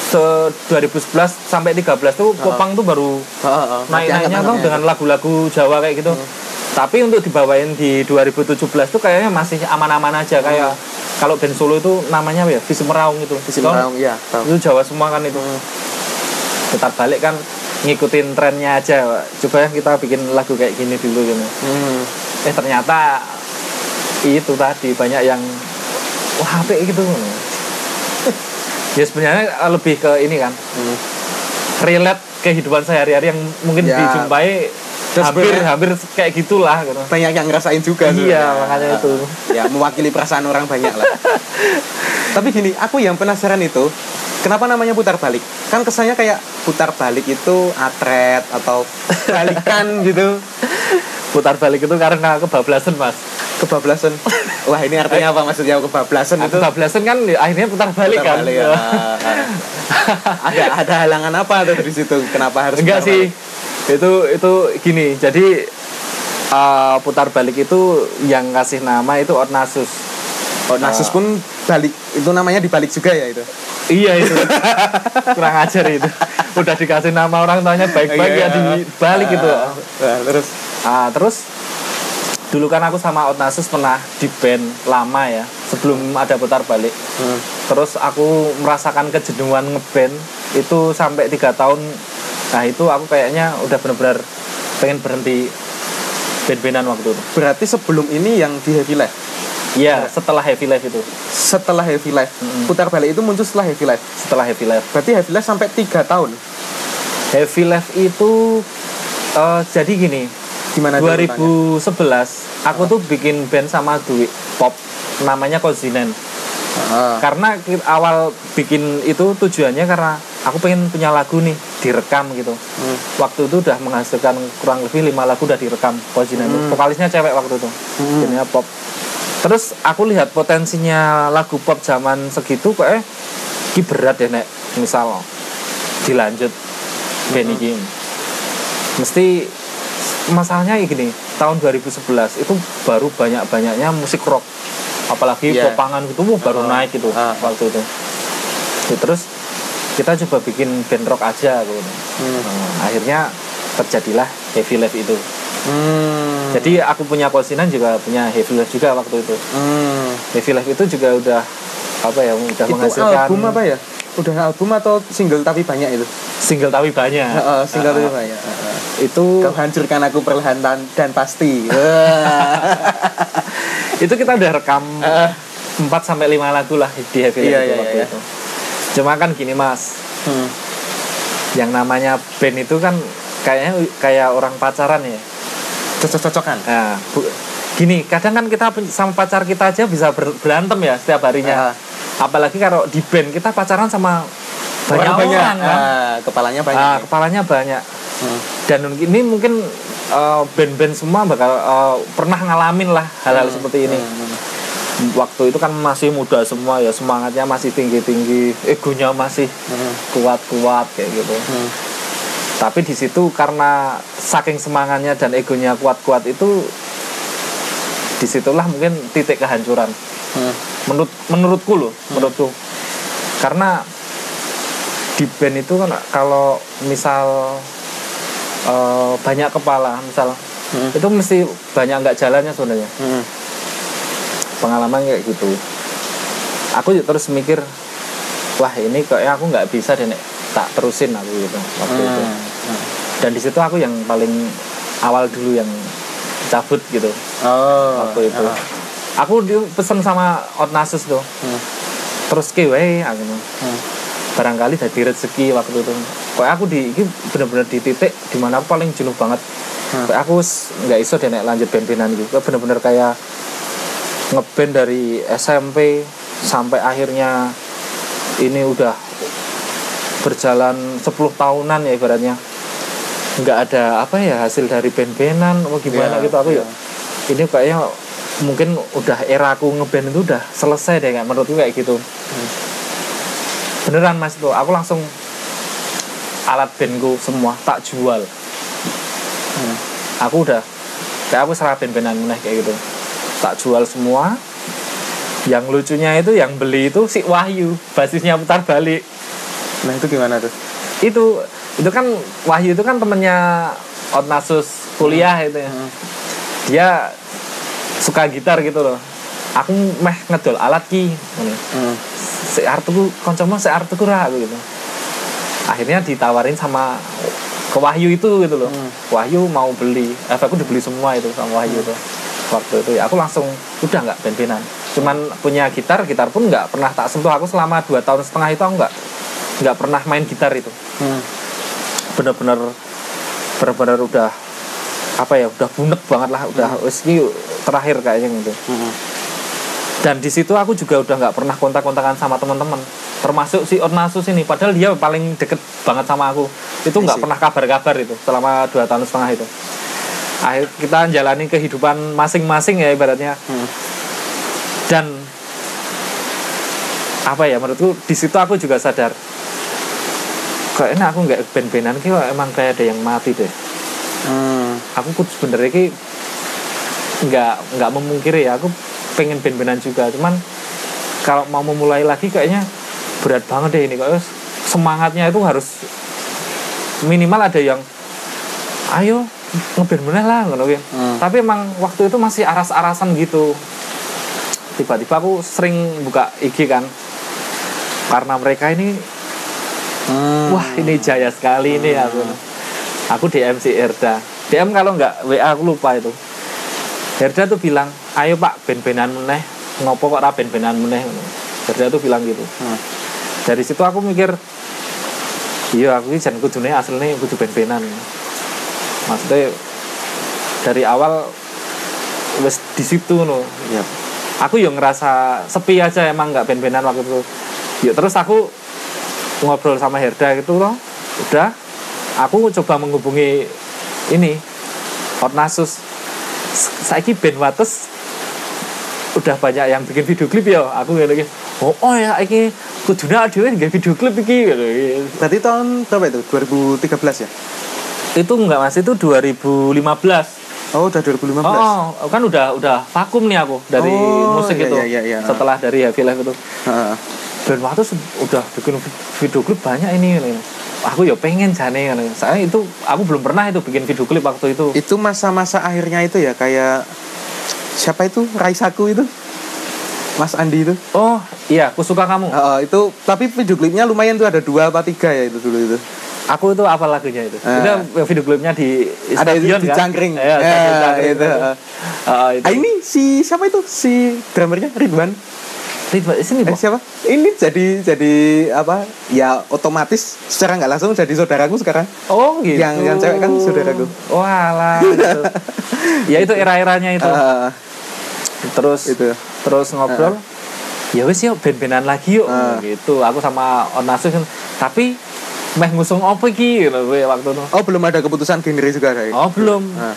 Speaker 2: se- 2011 sampai 13 tuh popang tuh baru
Speaker 1: Ha, ha, ha.
Speaker 2: naik
Speaker 1: Angkat-angkatnya
Speaker 2: naiknya Nah, bang
Speaker 1: itu.
Speaker 2: dengan lagu-lagu Jawa kayak gitu tapi untuk dibawain di 2017 tuh kayaknya masih aman-aman aja kayak kalau band Solo itu namanya apa ya Visi Meraung itu
Speaker 1: Visi
Speaker 2: Tau nggak?
Speaker 1: Meraung, iya, tahu.
Speaker 2: itu Jawa semua kan itu putar balik kan ngikutin trennya aja Pak. coba ya kita bikin lagu kayak gini dulu gitu
Speaker 1: Hmm.
Speaker 2: eh ternyata itu tadi banyak yang wah apik gitu ya sebenarnya eh, lebih ke ini kan
Speaker 1: Hmm.
Speaker 2: relate kehidupan sehari-hari yang mungkin
Speaker 1: Ya.
Speaker 2: dijumpai
Speaker 1: Dan
Speaker 2: hampir
Speaker 1: sebenarnya-
Speaker 2: hampir kayak gitulah gitu.
Speaker 1: Banyak yang ngerasain juga
Speaker 2: iya
Speaker 1: sebenarnya.
Speaker 2: makanya itu
Speaker 1: ya mewakili perasaan orang banyak lah tapi gini aku yang penasaran itu kenapa namanya putar balik kan kesannya kayak putar balik itu atret atau balikan gitu
Speaker 2: putar balik itu karena kebablasan mas
Speaker 1: kebablasan wah ini artinya apa maksudnya kebablasan itu
Speaker 2: kebablasan kan ya, akhirnya putar balik
Speaker 1: Putar
Speaker 2: kan
Speaker 1: balik, ya. ada ada halangan apa tuh di situ kenapa harus
Speaker 2: enggak
Speaker 1: putar
Speaker 2: sih itu itu gini jadi eh, putar balik itu yang kasih nama itu Ornasus
Speaker 1: balik? oh,
Speaker 2: Ah.
Speaker 1: nasus pun balik itu namanya dibalik juga ya itu
Speaker 2: iya itu kurang ajar itu udah dikasih nama orang tuanya baik-baik
Speaker 1: Iya.
Speaker 2: ya dibalik gitu
Speaker 1: Ah, ah, terus
Speaker 2: Ah, terus dulu kan aku sama Otnasus pernah di band lama ya sebelum ada putar balik
Speaker 1: Hmm.
Speaker 2: terus aku merasakan kejenuhan ngeband itu sampai tiga tahun nah itu aku kayaknya udah bener-bener pengen berhenti band-bandan waktu itu
Speaker 1: berarti sebelum ini yang di heavy life
Speaker 2: iya setelah heavy life itu
Speaker 1: setelah heavy life putar balik itu muncul setelah heavy life
Speaker 2: setelah heavy life
Speaker 1: Berarti Heavy Life sampai 3 tahun.
Speaker 2: heavy life itu eh, jadi gini
Speaker 1: Gimana tuh
Speaker 2: 2011 aku tuh bikin band sama duit pop namanya Kozinen
Speaker 1: ceritanya? Ah,
Speaker 2: karena ki- awal bikin itu tujuannya karena aku pengen punya lagu nih direkam gitu
Speaker 1: hmm,
Speaker 2: waktu itu udah menghasilkan kurang lebih lima lagu udah direkam Kozinen itu. vokalisnya cewek waktu itu
Speaker 1: Hmm.
Speaker 2: jadinya pop terus aku lihat potensinya lagu pop zaman segitu kok eh ki berat ya nek misal dilanjut band
Speaker 1: Hmm.
Speaker 2: iki. mesti masalahnya ya gini tahun 2011 itu baru banyak-banyaknya musik rock apalagi
Speaker 1: Iya.
Speaker 2: popangan gitu wah, baru
Speaker 1: Oh.
Speaker 2: naik gitu
Speaker 1: Ah.
Speaker 2: waktu itu Ya, terus kita coba bikin band rock aja gitu.
Speaker 1: hmm,
Speaker 2: Nah, akhirnya terjadilah heavy life itu.
Speaker 1: hmm,
Speaker 2: Jadi aku punya kosinan juga punya heavy life juga waktu itu.
Speaker 1: hmm.
Speaker 2: Heavy life itu juga udah apa ya udah
Speaker 1: Itu
Speaker 2: menghasilkan
Speaker 1: album apa ya? Udah album atau single tapi banyak itu?
Speaker 2: single tapi banyak.
Speaker 1: Ah, ah, single tapi
Speaker 2: Ah,
Speaker 1: banyak. Ah, ah.
Speaker 2: itu
Speaker 1: Kau hancurkan aku perlahan dan, dan pasti. Wah.
Speaker 2: itu kita udah rekam
Speaker 1: Ah,
Speaker 2: 4 sampai 5 lagu lah di heavy life
Speaker 1: Iya,
Speaker 2: itu
Speaker 1: iya,
Speaker 2: waktu
Speaker 1: iya.
Speaker 2: itu. Cuma kan gini Mas,
Speaker 1: hmm.
Speaker 2: yang namanya band itu kan kayaknya kayak orang pacaran ya.
Speaker 1: Cocok-cocokan.
Speaker 2: Nah, bu- gini, kadang kan kita pen- sama pacar kita aja bisa ber- berantem ya setiap
Speaker 1: Ah.
Speaker 2: harinya. Apalagi kalau di band kita pacaran sama
Speaker 1: Orang
Speaker 2: banyak orang, kan.
Speaker 1: Ah, kepalanya banyak.
Speaker 2: Ah,
Speaker 1: ya.
Speaker 2: kepalanya banyak.
Speaker 1: Hmm.
Speaker 2: Dan ini mungkin eh, band-band semua bakal eh, pernah ngalamin lah hal-hal seperti ini.
Speaker 1: Hmm.
Speaker 2: Waktu itu kan masih muda semua ya, semangatnya masih tinggi-tinggi, egonya masih
Speaker 1: Hmm.
Speaker 2: kuat-kuat kayak gitu.
Speaker 1: Hmm.
Speaker 2: tapi di situ karena saking semangatnya dan egonya kuat-kuat itu disitulah mungkin titik kehancuran
Speaker 1: Hmm.
Speaker 2: menurut menurutku loh menurutku karena di band itu kan kalau misal eh, banyak kepala misal
Speaker 1: Hmm.
Speaker 2: itu mesti banyak nggak jalannya sebenarnya
Speaker 1: Hmm.
Speaker 2: pengalaman kayak gitu aku juga terus mikir wah ini kayaknya aku nggak bisa deh Nek. tak terusin aku gitu waktu itu
Speaker 1: Hmm.
Speaker 2: dan di situ aku yang paling awal dulu yang cabut gitu
Speaker 1: Oh.
Speaker 2: waktu itu
Speaker 1: Ah.
Speaker 2: aku di- pesen sama Otnasus tuh
Speaker 1: Hmm.
Speaker 2: terus ke wae aku
Speaker 1: Hmm.
Speaker 2: barangkali jadi rezeki waktu itu kayak aku di ini bener-bener di titik dimana aku paling jenuh banget
Speaker 1: Hmm.
Speaker 2: kayak Nah, aku wis nggak iso deh nek lanjut band-bandan gitu Kayak bener-bener kayak ngeband dari SMP sampai akhirnya ini udah berjalan 10 tahunan ya ibaratnya nggak ada apa ya hasil dari band-bandan mau gimana
Speaker 1: Iya,
Speaker 2: gitu aku
Speaker 1: iya.
Speaker 2: ya ini kayaknya mungkin udah era aku ngeband itu udah selesai deh kayak menurutku kayak gitu
Speaker 1: Hmm.
Speaker 2: beneran mas tuh aku langsung alat bandku semua tak jual
Speaker 1: hmm.
Speaker 2: aku udah kayak aku serah band-bandan meneh kayak gitu tak jual semua yang lucunya itu yang beli itu si Wahyu basisnya putar balik
Speaker 1: Nah itu gimana tuh?
Speaker 2: itu itu kan Wahyu itu kan temennya Otnasus kuliah itu ya
Speaker 1: Hmm.
Speaker 2: dia suka gitar gitu loh aku meh ngedol alat ki Ngono.
Speaker 1: Hmm.
Speaker 2: si artuku koncomu si artuku ra aku gitu akhirnya ditawarin sama ke Wahyu itu gitu loh
Speaker 1: Hmm.
Speaker 2: Wahyu mau beli eh, aku udah beli semua itu sama Wahyu itu waktu itu ya aku langsung udah nggak band-bandan cuman punya gitar gitar pun nggak pernah tak sentuh aku selama dua tahun setengah itu aku nggak nggak pernah main gitar itu
Speaker 1: Hmm.
Speaker 2: bener-bener bener-bener udah apa ya udah bunek banget lah udah wis ini terakhir kayaknya gitu
Speaker 1: Hmm.
Speaker 2: dan di situ aku juga udah nggak pernah kontak-kontakan sama teman-teman termasuk si Ornasus ini padahal dia paling deket banget sama aku itu nggak
Speaker 1: I see.
Speaker 2: pernah kabar-kabar itu selama dua tahun setengah itu akhir kita jalani kehidupan masing-masing ya ibaratnya
Speaker 1: Hmm.
Speaker 2: dan apa ya menurutku di situ aku juga sadar kayaknya aku nggak ben-benan ki kok emang kayak ada yang mati deh
Speaker 1: Hmm.
Speaker 2: aku kudu sebenarnya ki nggak nggak memungkiri ya aku pengen ben-benan juga cuman kalau mau memulai lagi kayaknya berat banget deh ini kok semangatnya itu harus minimal ada yang ayo ngeband bener lah ngono ki.
Speaker 1: Hmm.
Speaker 2: tapi emang waktu itu masih aras-arasan gitu tiba-tiba aku sering buka IG kan karena mereka ini
Speaker 1: Hmm.
Speaker 2: wah ini jaya sekali ini aku aku DM si Erda DM kalau nggak WA aku lupa itu Erda tuh bilang ayo pak ben-benan meneh ngopo kok ra ben-benan meneh Erda tuh bilang gitu
Speaker 1: Hmm.
Speaker 2: dari situ aku mikir iya aku ini jan kudune aslinya kudu ben-benan maksudnya dari awal wes di situ no
Speaker 1: Yap.
Speaker 2: aku yang ngerasa sepi aja emang nggak ben-benan waktu itu ya terus aku ngobrol sama Herda gitu loh udah aku coba menghubungi ini Ornasus saiki band Wates udah banyak yang bikin video klip ya aku kayak gitu oh, oh ya iki kudune dhewe nggak video klip iki gitu.
Speaker 1: Berarti tahun berapa itu? 2013 ya?
Speaker 2: itu enggak Mas itu 2015
Speaker 1: Oh, udah 2015.
Speaker 2: Oh, kan udah udah vakum nih aku dari
Speaker 1: Oh,
Speaker 2: musik
Speaker 1: iya,
Speaker 2: itu.
Speaker 1: iya, iya.
Speaker 2: Setelah dari Happy Life itu.
Speaker 1: Heeh.
Speaker 2: dan waktu se- udah bikin vi- video klip banyak ini ini. aku ya pengen jane ini. saya itu aku belum pernah itu bikin video klip waktu itu
Speaker 1: Itu masa-masa akhirnya itu ya kayak siapa itu? Raisaku itu. Mas Andi itu.
Speaker 2: oh iya aku suka kamu
Speaker 1: Heeh, itu tapi video klipnya lumayan tuh ada dua apa tiga ya itu dulu itu.
Speaker 2: aku itu apa lagunya itu
Speaker 1: Eh.
Speaker 2: itu video klipnya di
Speaker 1: Ada itu
Speaker 2: stadion
Speaker 1: di
Speaker 2: kan?
Speaker 1: Cangkring.
Speaker 2: Iya,
Speaker 1: Eh,
Speaker 2: stadion Cangkring.
Speaker 1: itu.
Speaker 2: Ah, itu.
Speaker 1: Ah, ini si siapa itu? Si drummernya Ridwan.
Speaker 2: Ridwan, sini
Speaker 1: Eh,
Speaker 2: Bos.
Speaker 1: siapa? Ini jadi jadi apa? Ya otomatis secara nggak langsung jadi saudaraku sekarang.
Speaker 2: oh gitu
Speaker 1: Yang- yang cewek kan saudaraku.
Speaker 2: walah gitu. ya itu era-eranya itu
Speaker 1: Heeh,
Speaker 2: terus
Speaker 1: Ah, itu.
Speaker 2: terus ngobrol ya wes yuk ben-benan lagi yuk
Speaker 1: Ah.
Speaker 2: gitu aku sama Onasus kan tapi meh ngusung apa iki gitu gue waktu itu
Speaker 1: Oh, belum ada keputusan genre juga kayak.
Speaker 2: oh belum
Speaker 1: Heeh.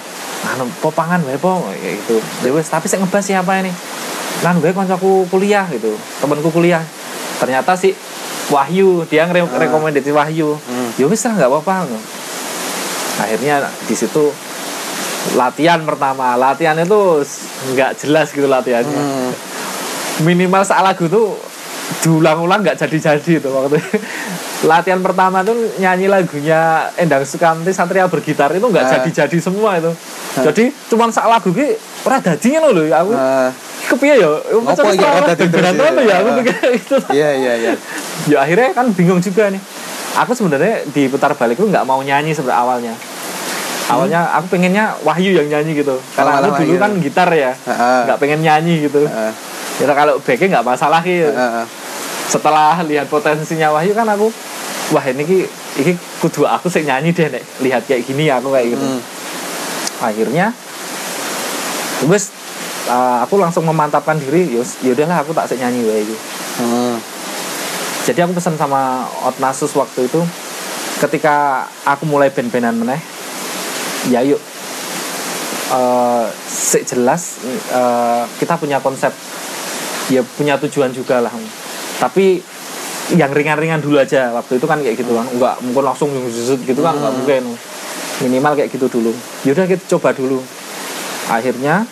Speaker 2: anu popangan wae po kayak gitu ya wes tapi saya ngebahas siapa ini lan gue koncoku kuliah gitu temanku kuliah ternyata si Wahyu dia ngerekomendasi Wahyu
Speaker 1: Hmm.
Speaker 2: ya wes lah nggak apa-apa akhirnya di situ latihan pertama latihan itu nggak jelas gitu latihannya
Speaker 1: Hmm.
Speaker 2: minimal salah lagu tuh diulang-ulang nggak jadi-jadi itu waktu latihan pertama tuh nyanyi lagunya Endang Sukamti Satria bergitar itu nggak
Speaker 1: Ah.
Speaker 2: jadi-jadi semua itu jadi cuman saat lagu ki ora dadinya lho ya aku
Speaker 1: Eh,
Speaker 2: kepiye ya
Speaker 1: Ngopo iki ora dadi terus
Speaker 2: ya aku
Speaker 1: ya?
Speaker 2: pikir gitu
Speaker 1: Iya iya iya.
Speaker 2: ya akhirnya kan bingung juga nih aku sebenarnya di putar balik tuh nggak mau nyanyi sebenarnya awalnya awalnya aku pengennya Wahyu yang nyanyi gitu karena
Speaker 1: malah Hmm.
Speaker 2: aku dulu
Speaker 1: Wahyu. Eh.
Speaker 2: kan gitar ya
Speaker 1: Heeh.
Speaker 2: nggak pengen nyanyi gitu
Speaker 1: Heeh.
Speaker 2: ya kalau backnya nggak masalah gitu
Speaker 1: Heeh.
Speaker 2: setelah lihat potensinya Wahyu kan aku wah ini ki ini kudu aku sih nyanyi deh nek lihat kayak gini aku kayak gitu
Speaker 1: Hmm.
Speaker 2: akhirnya wes uh, aku langsung memantapkan diri yus yaudahlah aku tak sih nyanyi wae iki.
Speaker 1: Hmm.
Speaker 2: jadi aku pesan sama Otnasus waktu itu ketika aku mulai ben-benan meneh ya yuk eh sik jelas eh, kita punya konsep ya punya tujuan juga lah tapi yang ringan-ringan dulu aja waktu itu kan kayak gitu kan nggak mungkin langsung yang zzzz gitu kan nggak mungkin minimal kayak gitu dulu yaudah kita coba dulu akhirnya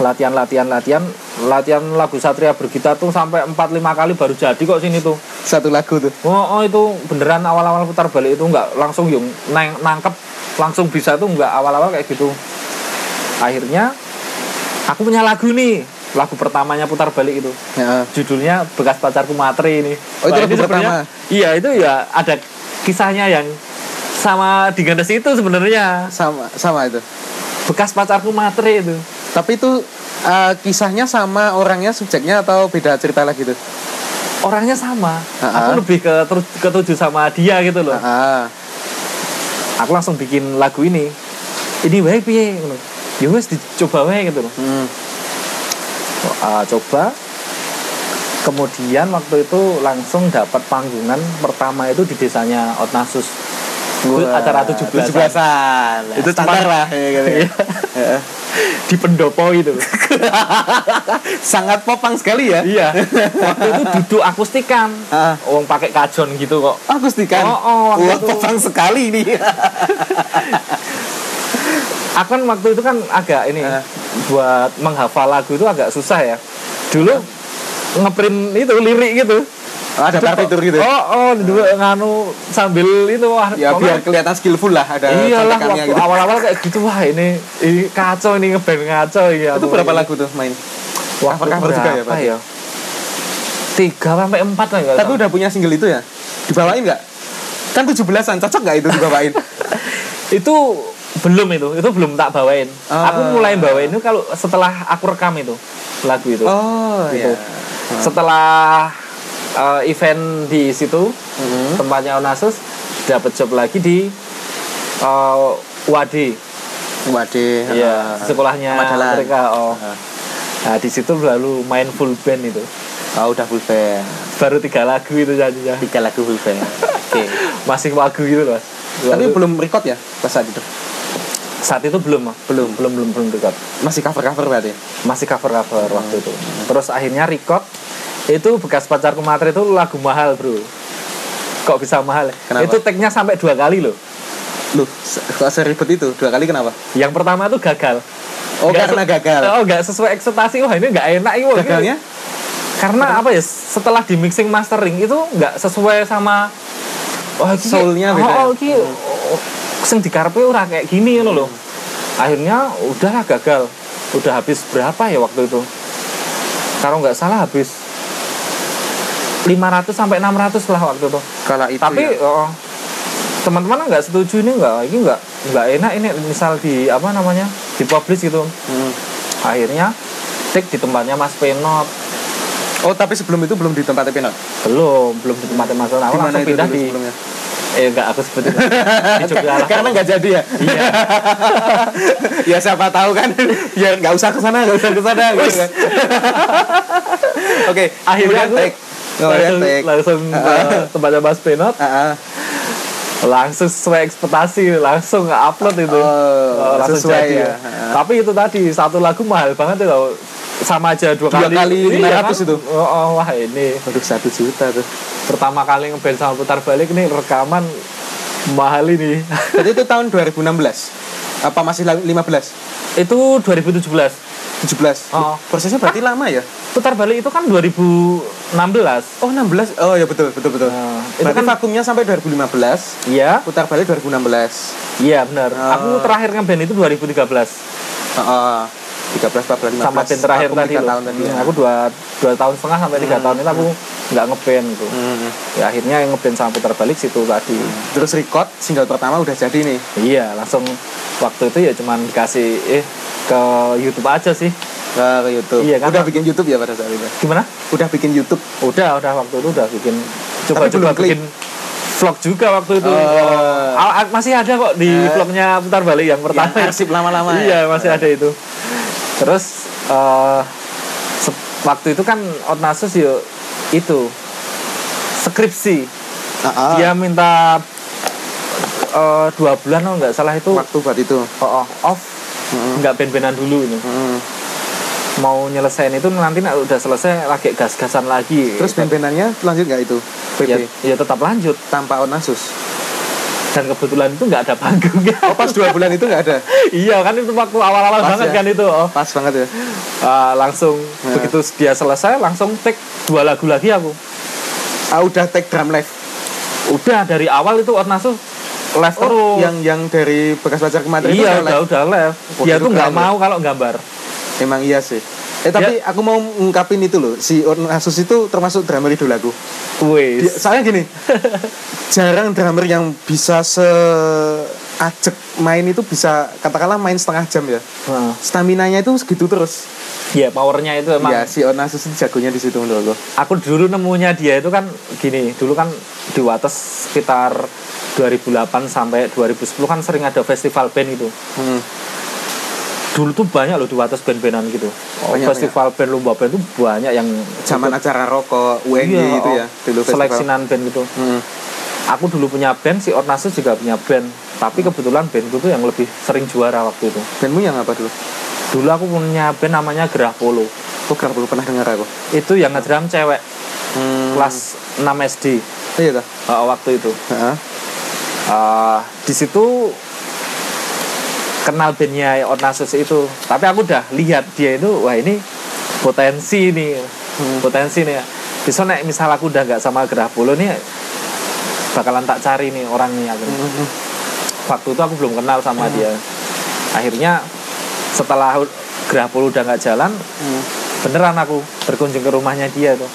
Speaker 2: latihan latihan latihan latihan lagu Satria bergitar tuh sampai 4-5 kali baru jadi kok sini tuh
Speaker 1: Satu lagu tuh.
Speaker 2: Oh, oh, itu beneran awal-awal putar balik itu nggak langsung yung nang nangkep langsung bisa tuh nggak awal-awal kayak gitu. Akhirnya aku punya lagu nih lagu pertamanya putar balik itu
Speaker 1: Heeh.
Speaker 2: judulnya bekas pacarku materi ini.
Speaker 1: Oh, itu
Speaker 2: Wah,
Speaker 1: lagu
Speaker 2: ini sebenarnya- Iya itu ya ada kisahnya yang sama di Gandes itu sebenarnya
Speaker 1: Sama sama itu.
Speaker 2: bekas pacarku materi itu
Speaker 1: Tapi itu eh, kisahnya sama orangnya subjeknya atau beda cerita lagi tuh?
Speaker 2: orangnya sama.
Speaker 1: Ha-ha.
Speaker 2: Aku lebih ke ketuju sama dia gitu loh.
Speaker 1: Heeh.
Speaker 2: aku langsung bikin lagu ini ini baik piye ngono ya wes dicoba wae gitu loh
Speaker 1: Hmm.
Speaker 2: Ah, coba kemudian waktu itu langsung dapat panggungan pertama itu di desanya Otnasus Itu
Speaker 1: Wah,
Speaker 2: acara 17
Speaker 1: 17-an.
Speaker 2: Itu
Speaker 1: standar
Speaker 2: cuman-
Speaker 1: lah ya, gitu.
Speaker 2: Iya.
Speaker 1: Heeh.
Speaker 2: di pendopo gitu itu
Speaker 1: Sangat popang sekali ya.
Speaker 2: iya waktu itu duduk akustikan
Speaker 1: Ah.
Speaker 2: wong pakai kajon gitu kok
Speaker 1: Akustikan.
Speaker 2: Oh, oh, waktu
Speaker 1: Wah,
Speaker 2: itu.
Speaker 1: popang sekali ini.
Speaker 2: aku kan waktu itu kan agak ini
Speaker 1: Ah.
Speaker 2: buat menghafal lagu itu agak susah ya dulu ngeprint itu lirik gitu
Speaker 1: Oh, ada partitur gitu.
Speaker 2: Oh, oh, dua nganu sambil itu wah.
Speaker 1: Ya biar
Speaker 2: pokoknya-
Speaker 1: kelihatan skillful lah ada
Speaker 2: oh. Iyalah
Speaker 1: contekannya
Speaker 2: waktu
Speaker 1: gitu.
Speaker 2: awal-awal kayak gitu wah ini, ini kacau ini ngeband kacau ya.
Speaker 1: Itu berapa lagu tuh main?
Speaker 2: Waktu
Speaker 1: cover-cover juga ya,
Speaker 2: berapa
Speaker 1: berarti?
Speaker 2: ya? Tiga sampai empat lah kalau
Speaker 1: Tapi
Speaker 2: salah.
Speaker 1: udah punya single itu ya? Dibawain nggak? Kan 17-an, cocok nggak itu dibawain?
Speaker 2: itu belum itu, itu belum tak bawain.
Speaker 1: Ah.
Speaker 2: Aku mulai bawain itu kalau setelah aku rekam itu lagu itu.
Speaker 1: oh,
Speaker 2: Gitu.
Speaker 1: iya.
Speaker 2: Setelah eh, event di situ
Speaker 1: Mhm.
Speaker 2: tempatnya Onasus dapat job lagi di eh, Wadi.
Speaker 1: Waduh.
Speaker 2: Iya, sekolahnya
Speaker 1: Ahmad Dahlan.
Speaker 2: mereka. Oh.
Speaker 1: Ah.
Speaker 2: Nah, di situ lalu main full band itu.
Speaker 1: Oh, udah full band.
Speaker 2: Baru tiga lagu itu jadinya.
Speaker 1: Tiga lagu full band. Oke.
Speaker 2: Masih lagu gitu, Mas.
Speaker 1: Tapi
Speaker 2: Lalu-
Speaker 1: belum record ya pas saat itu?
Speaker 2: saat itu belum, Mas.
Speaker 1: Belum.
Speaker 2: Belum belum belum record.
Speaker 1: Masih cover-cover berarti?
Speaker 2: Masih cover-cover waktu itu.
Speaker 1: Hmm.
Speaker 2: Terus akhirnya record itu bekas pacarku materi itu lagu mahal, Bro. Kok bisa mahal?
Speaker 1: Kenapa?
Speaker 2: Itu tag-nya sampai dua kali loh.
Speaker 1: Loh, se- kok seribet itu? Dua kali kenapa?
Speaker 2: Yang pertama tuh gagal.
Speaker 1: Oh,
Speaker 2: Nggak
Speaker 1: karena
Speaker 2: se-
Speaker 1: gagal.
Speaker 2: Oh, iya. nggak sesuai ekspektasi. Wah, ini nggak enak ini. wah, ini-
Speaker 1: Gagalnya?
Speaker 2: karena apa ya setelah di mixing mastering itu nggak sesuai sama oh iki
Speaker 1: Soul-nya beda ya?
Speaker 2: oh, oh iki oh, sing dikarepe ora kayak gini ngono loh
Speaker 1: Hmm.
Speaker 2: akhirnya udahlah gagal udah habis berapa ya waktu itu kalau nggak salah habis 500 sampai 600 lah waktu itu
Speaker 1: Kalau itu
Speaker 2: tapi
Speaker 1: ya.
Speaker 2: oh, teman-teman nggak setuju ini nggak ini nggak nggak enak ini misal di apa namanya dipublish gitu
Speaker 1: Hmm.
Speaker 2: akhirnya take di tempatnya Mas Penot
Speaker 1: Oh, tapi sebelum itu belum di tempat Pinot?
Speaker 2: belum belum di tempat Mas Penot aku
Speaker 1: Di mana
Speaker 2: langsung
Speaker 1: itu
Speaker 2: pindah
Speaker 1: dulu
Speaker 2: di
Speaker 1: sebelumnya?
Speaker 2: eh enggak aku seperti itu di Jogja lah.
Speaker 1: karena nggak jadi ya?
Speaker 2: iya
Speaker 1: ya siapa tahu kan ya nggak usah ke sana nggak usah ke sana gitu kan. oke
Speaker 2: akhirnya
Speaker 1: kemudian
Speaker 2: aku
Speaker 1: take kemudian
Speaker 2: langsung,
Speaker 1: take
Speaker 2: langsung ke tempatnya Mas
Speaker 1: Oh,
Speaker 2: Penot
Speaker 1: ya, Ah, ah.
Speaker 2: langsung sesuai ekspektasi langsung nggak upload itu Eh,
Speaker 1: Oh,
Speaker 2: langsung
Speaker 1: sesuai
Speaker 2: jadi.
Speaker 1: ya. Ah.
Speaker 2: tapi itu tadi satu lagu mahal banget itu sama aja dua,
Speaker 1: Dua kali
Speaker 2: Iya,
Speaker 1: 500 itu.
Speaker 2: oh, oh, wah ini
Speaker 1: aduh satu juta tuh
Speaker 2: pertama kali ngeband sama putar balik nih rekaman mahal ini
Speaker 1: Jadi itu tahun 2016. Apa masih la- 15?
Speaker 2: itu 2017
Speaker 1: 17.
Speaker 2: Oh.
Speaker 1: Prosesnya berarti lama ya?
Speaker 2: putar balik itu kan 2016
Speaker 1: Oh, 16. Oh, ya betul, betul, betul.
Speaker 2: Nah, itu
Speaker 1: berarti
Speaker 2: kan-
Speaker 1: vakumnya sampai 2015,
Speaker 2: iya
Speaker 1: putar balik 2016.
Speaker 2: iya benar
Speaker 1: Ah.
Speaker 2: aku terakhir ngeband itu 2013
Speaker 1: Heeh. 13, 14, 15.
Speaker 2: sama band terakhir
Speaker 1: vakum
Speaker 2: tadi,
Speaker 1: tiga
Speaker 2: loh.
Speaker 1: tahun tadi.
Speaker 2: Hmm,
Speaker 1: ya.
Speaker 2: aku dua dua tahun setengah sampai tiga tahun itu aku nggak ngeband gitu
Speaker 1: Hmm.
Speaker 2: ya akhirnya yang ngeband sama putar balik situ tadi
Speaker 1: Terus record single pertama udah jadi nih.
Speaker 2: iya langsung waktu itu ya cuman dikasih eh ke YouTube aja sih
Speaker 1: Ke ke YouTube.
Speaker 2: Iya,
Speaker 1: Nah, gitu.
Speaker 2: kan?
Speaker 1: Udah bikin YouTube ya pada saat itu.
Speaker 2: gimana
Speaker 1: Udah bikin YouTube.
Speaker 2: udah udah waktu itu udah bikin
Speaker 1: Tapi belum
Speaker 2: coba-coba
Speaker 1: klik.
Speaker 2: bikin vlog juga waktu itu
Speaker 1: Oh.
Speaker 2: Al- al- masih ada kok di
Speaker 1: Eh.
Speaker 2: vlognya putar balik yang pertama
Speaker 1: Yang arsip lama-lama ya?
Speaker 2: iya masih ada itu terus eh, se- waktu itu kan Otnasus yuk itu skripsi
Speaker 1: Heeh.
Speaker 2: dia minta eh, dua bulan oh nggak salah itu
Speaker 1: Waktu buat itu.
Speaker 2: oh, oh, off nggak ben-benan dulu ini
Speaker 1: Hmm.
Speaker 2: mau nyelesain itu nanti nak udah selesai lagi gas-gasan lagi
Speaker 1: Terus band-bandannya lanjut nggak itu? PP.
Speaker 2: ya, ya tetap lanjut
Speaker 1: Tanpa Onasus.
Speaker 2: dan kebetulan itu nggak ada panggung
Speaker 1: Oh, pas dua bulan itu nggak ada.
Speaker 2: iya kan itu waktu awal-awal
Speaker 1: Pas
Speaker 2: banget
Speaker 1: ya.
Speaker 2: kan itu oh.
Speaker 1: Pas banget ya.
Speaker 2: Ah, langsung
Speaker 1: Ya.
Speaker 2: begitu dia selesai langsung take dua lagu lagi aku
Speaker 1: Ah, udah take drum live.
Speaker 2: udah dari awal itu Ornasu live
Speaker 1: Oh,
Speaker 2: terus
Speaker 1: yang yang dari bekas pacar kemarin itu udah
Speaker 2: iya
Speaker 1: live.
Speaker 2: udah udah live
Speaker 1: Wah,
Speaker 2: dia
Speaker 1: itu
Speaker 2: tuh nggak
Speaker 1: keren,
Speaker 2: mau kalau gambar
Speaker 1: Emang iya sih. Eh tapi
Speaker 2: Ya.
Speaker 1: aku mau ngungkapin itu loh, si Onasus itu termasuk drummer idolaku. Dia,
Speaker 2: wes
Speaker 1: soalnya gini, jarang drummer yang bisa se ajek main itu bisa katakanlah main setengah jam ya.
Speaker 2: Nah,
Speaker 1: Staminanya itu segitu terus.
Speaker 2: ya powernya itu emang
Speaker 1: Iya, si Onasus itu jagonya di situ menurut gue.
Speaker 2: aku dulu nemunya dia itu kan gini dulu kan di Wates sekitar 2008 sampai 2010 kan sering ada festival band gitu
Speaker 1: Hmm.
Speaker 2: dulu tuh banyak loh di Wates band-bandan gitu
Speaker 1: Oh, Banyak,
Speaker 2: festival band lomba band tuh banyak yang oh,
Speaker 1: Zaman acara rokok UNY
Speaker 2: Iya,
Speaker 1: itu ya, dulu festival.
Speaker 2: seleksinan band gitu
Speaker 1: Hmm.
Speaker 2: aku dulu punya band si Ornasus juga punya band tapi
Speaker 1: Hmm.
Speaker 2: kebetulan bandku tuh yang lebih sering juara waktu itu
Speaker 1: Bandmu yang apa dulu?
Speaker 2: dulu aku punya band namanya Gerah Polo
Speaker 1: Aku kerap belum pernah dengar aku.
Speaker 2: itu yang ngedram cewek
Speaker 1: Hmm.
Speaker 2: kelas 6 SD
Speaker 1: Iya dah.
Speaker 2: uh, eh, waktu itu
Speaker 1: Heeh.
Speaker 2: Uh, di situ kenal bandnya Ornasus itu tapi aku udah lihat dia itu wah ini potensi ini Hmm. potensi nih bisa nek misal aku udah nggak sama gerah polo nih bakalan tak cari nih orang nih aku.
Speaker 1: Hmm.
Speaker 2: waktu itu aku belum kenal sama dia akhirnya setelah gerah polo udah nggak jalan
Speaker 1: Hmm.
Speaker 2: beneran aku berkunjung ke rumahnya dia tuh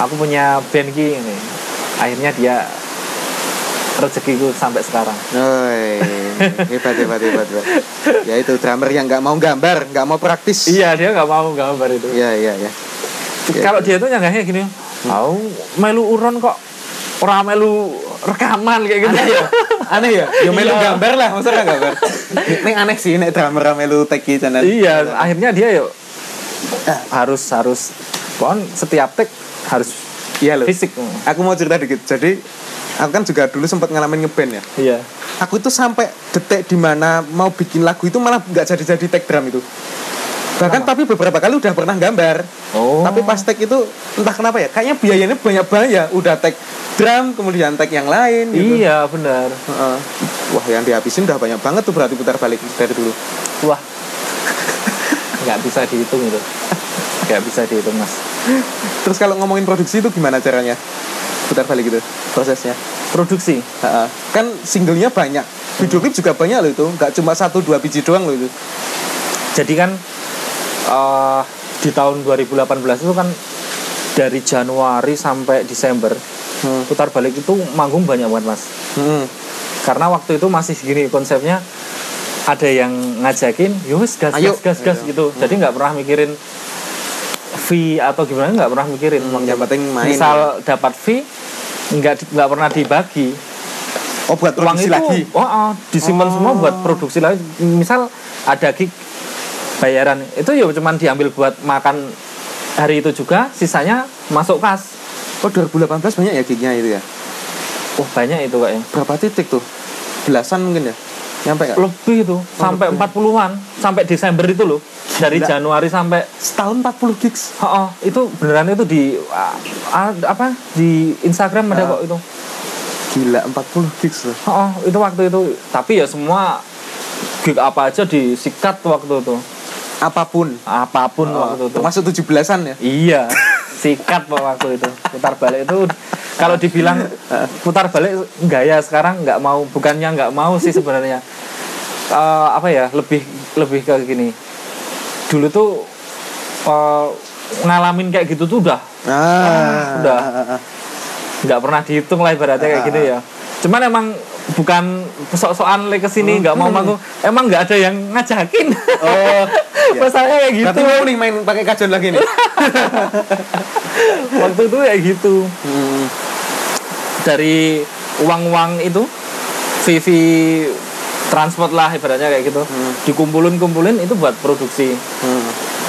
Speaker 2: aku punya band gini akhirnya dia rezekiku sampai sekarang
Speaker 1: Oi, hebat hebat hebat hebat. Ya itu drummer yang nggak mau gambar, nggak mau praktis.
Speaker 2: Iya dia nggak mau gambar itu.
Speaker 1: Iya iya iya.
Speaker 2: Kalau dia tuh nyanggahnya gini, mau melu uron kok, orang melu rekaman kayak gitu.
Speaker 1: Aneh ya, aneh ya. Ya melu
Speaker 2: Iya.
Speaker 1: gambar lah, maksudnya nggak gambar. Ini aneh sih, ini drummer melu teki channel.
Speaker 2: iya, akhirnya dia yuk harus harus pohon setiap tek harus
Speaker 1: Iya loh.
Speaker 2: fisik.
Speaker 1: Aku mau cerita dikit. Jadi aku kan juga dulu sempat ngalamin ngeband ya.
Speaker 2: Iya.
Speaker 1: Aku itu sampai detik dimana mau bikin lagu itu malah nggak jadi-jadi tag drum itu. Bahkan tapi beberapa kali udah pernah gambar.
Speaker 2: Oh.
Speaker 1: Tapi pas tag itu entah kenapa ya, kayaknya biayanya banyak banget ya. Udah tag drum, kemudian tag yang lain. Gitu.
Speaker 2: Iya benar.
Speaker 1: Heeh. Wah yang dihabisin udah banyak banget tuh berarti putar balik dari dulu.
Speaker 2: Wah. Nggak bisa dihitung itu. Nggak bisa dihitung mas.
Speaker 1: Terus kalau ngomongin produksi itu gimana caranya? Putar balik gitu prosesnya.
Speaker 2: Produksi.
Speaker 1: Heeh. Kan singlenya banyak, video
Speaker 2: Hmm.
Speaker 1: klip juga banyak loh itu. Gak cuma satu dua biji doang loh itu.
Speaker 2: jadi kan eh, di tahun 2018 itu kan dari Januari sampai Desember
Speaker 1: Hmm.
Speaker 2: putar balik itu manggung banyak banget mas
Speaker 1: Hmm.
Speaker 2: karena waktu itu masih gini konsepnya ada yang ngajakin yus gas
Speaker 1: Ayo.
Speaker 2: gas gas
Speaker 1: Ayo.
Speaker 2: gas
Speaker 1: Hmm.
Speaker 2: gitu jadi nggak pernah mikirin fee atau gimana nggak pernah mikirin Waktu
Speaker 1: Hmm, yang
Speaker 2: itu.
Speaker 1: penting main. ya.
Speaker 2: misal dapat fee nggak di- nggak pernah dibagi
Speaker 1: Oh buat
Speaker 2: uang
Speaker 1: produksi
Speaker 2: itu
Speaker 1: lagi. Oh.
Speaker 2: oh, oh, disimpan semua buat produksi lagi misal ada gig bayaran itu ya cuman diambil buat makan hari itu juga sisanya masuk kas
Speaker 1: Oh 2018 banyak ya gignya itu ya.
Speaker 2: wah banyak itu ya. kayaknya
Speaker 1: Berapa titik tuh? Belasan mungkin ya. Nyampe nggak?
Speaker 2: lebih itu sampai 40-an sampai Desember itu loh dari
Speaker 1: Oh, Gila.
Speaker 2: Januari sampai
Speaker 1: Setahun 40 gigs.
Speaker 2: oh, oh, itu beneran itu di ah, ah, apa di Instagram ada
Speaker 1: Ah.
Speaker 2: kok itu
Speaker 1: Gila 40 gigs loh.
Speaker 2: Oh, itu waktu itu. Tapi ya semua gig apa aja disikat waktu itu.
Speaker 1: Apapun. Oh,
Speaker 2: Apapun waktu itu.
Speaker 1: Masuk 17-an ya.
Speaker 2: Iya, sikat Pak, waktu itu. Putar balik itu kalau dibilang putar balik enggak ya sekarang nggak mau bukannya nggak mau sih sebenarnya. Eh, apa ya lebih lebih kayak gini. Dulu tuh eh, ngalamin kayak gitu tuh udah
Speaker 1: Ah,
Speaker 2: udah.
Speaker 1: ah, ah.
Speaker 2: nggak pernah dihitung lah ibaratnya kayak gitu ya cuman emang bukan sok-sokan le kesini nggak mau manggung emang nggak ada yang ngajakin
Speaker 1: Oh,
Speaker 2: masalahnya kayak gitu
Speaker 1: Berarti mau nih main pakai kajon lagi nih.
Speaker 2: waktu itu kayak gitu
Speaker 1: Hmm,
Speaker 2: dari uang-uang itu Vivi transport lah ibaratnya kayak gitu dikumpulin kumpulin itu buat produksi
Speaker 1: Hmm,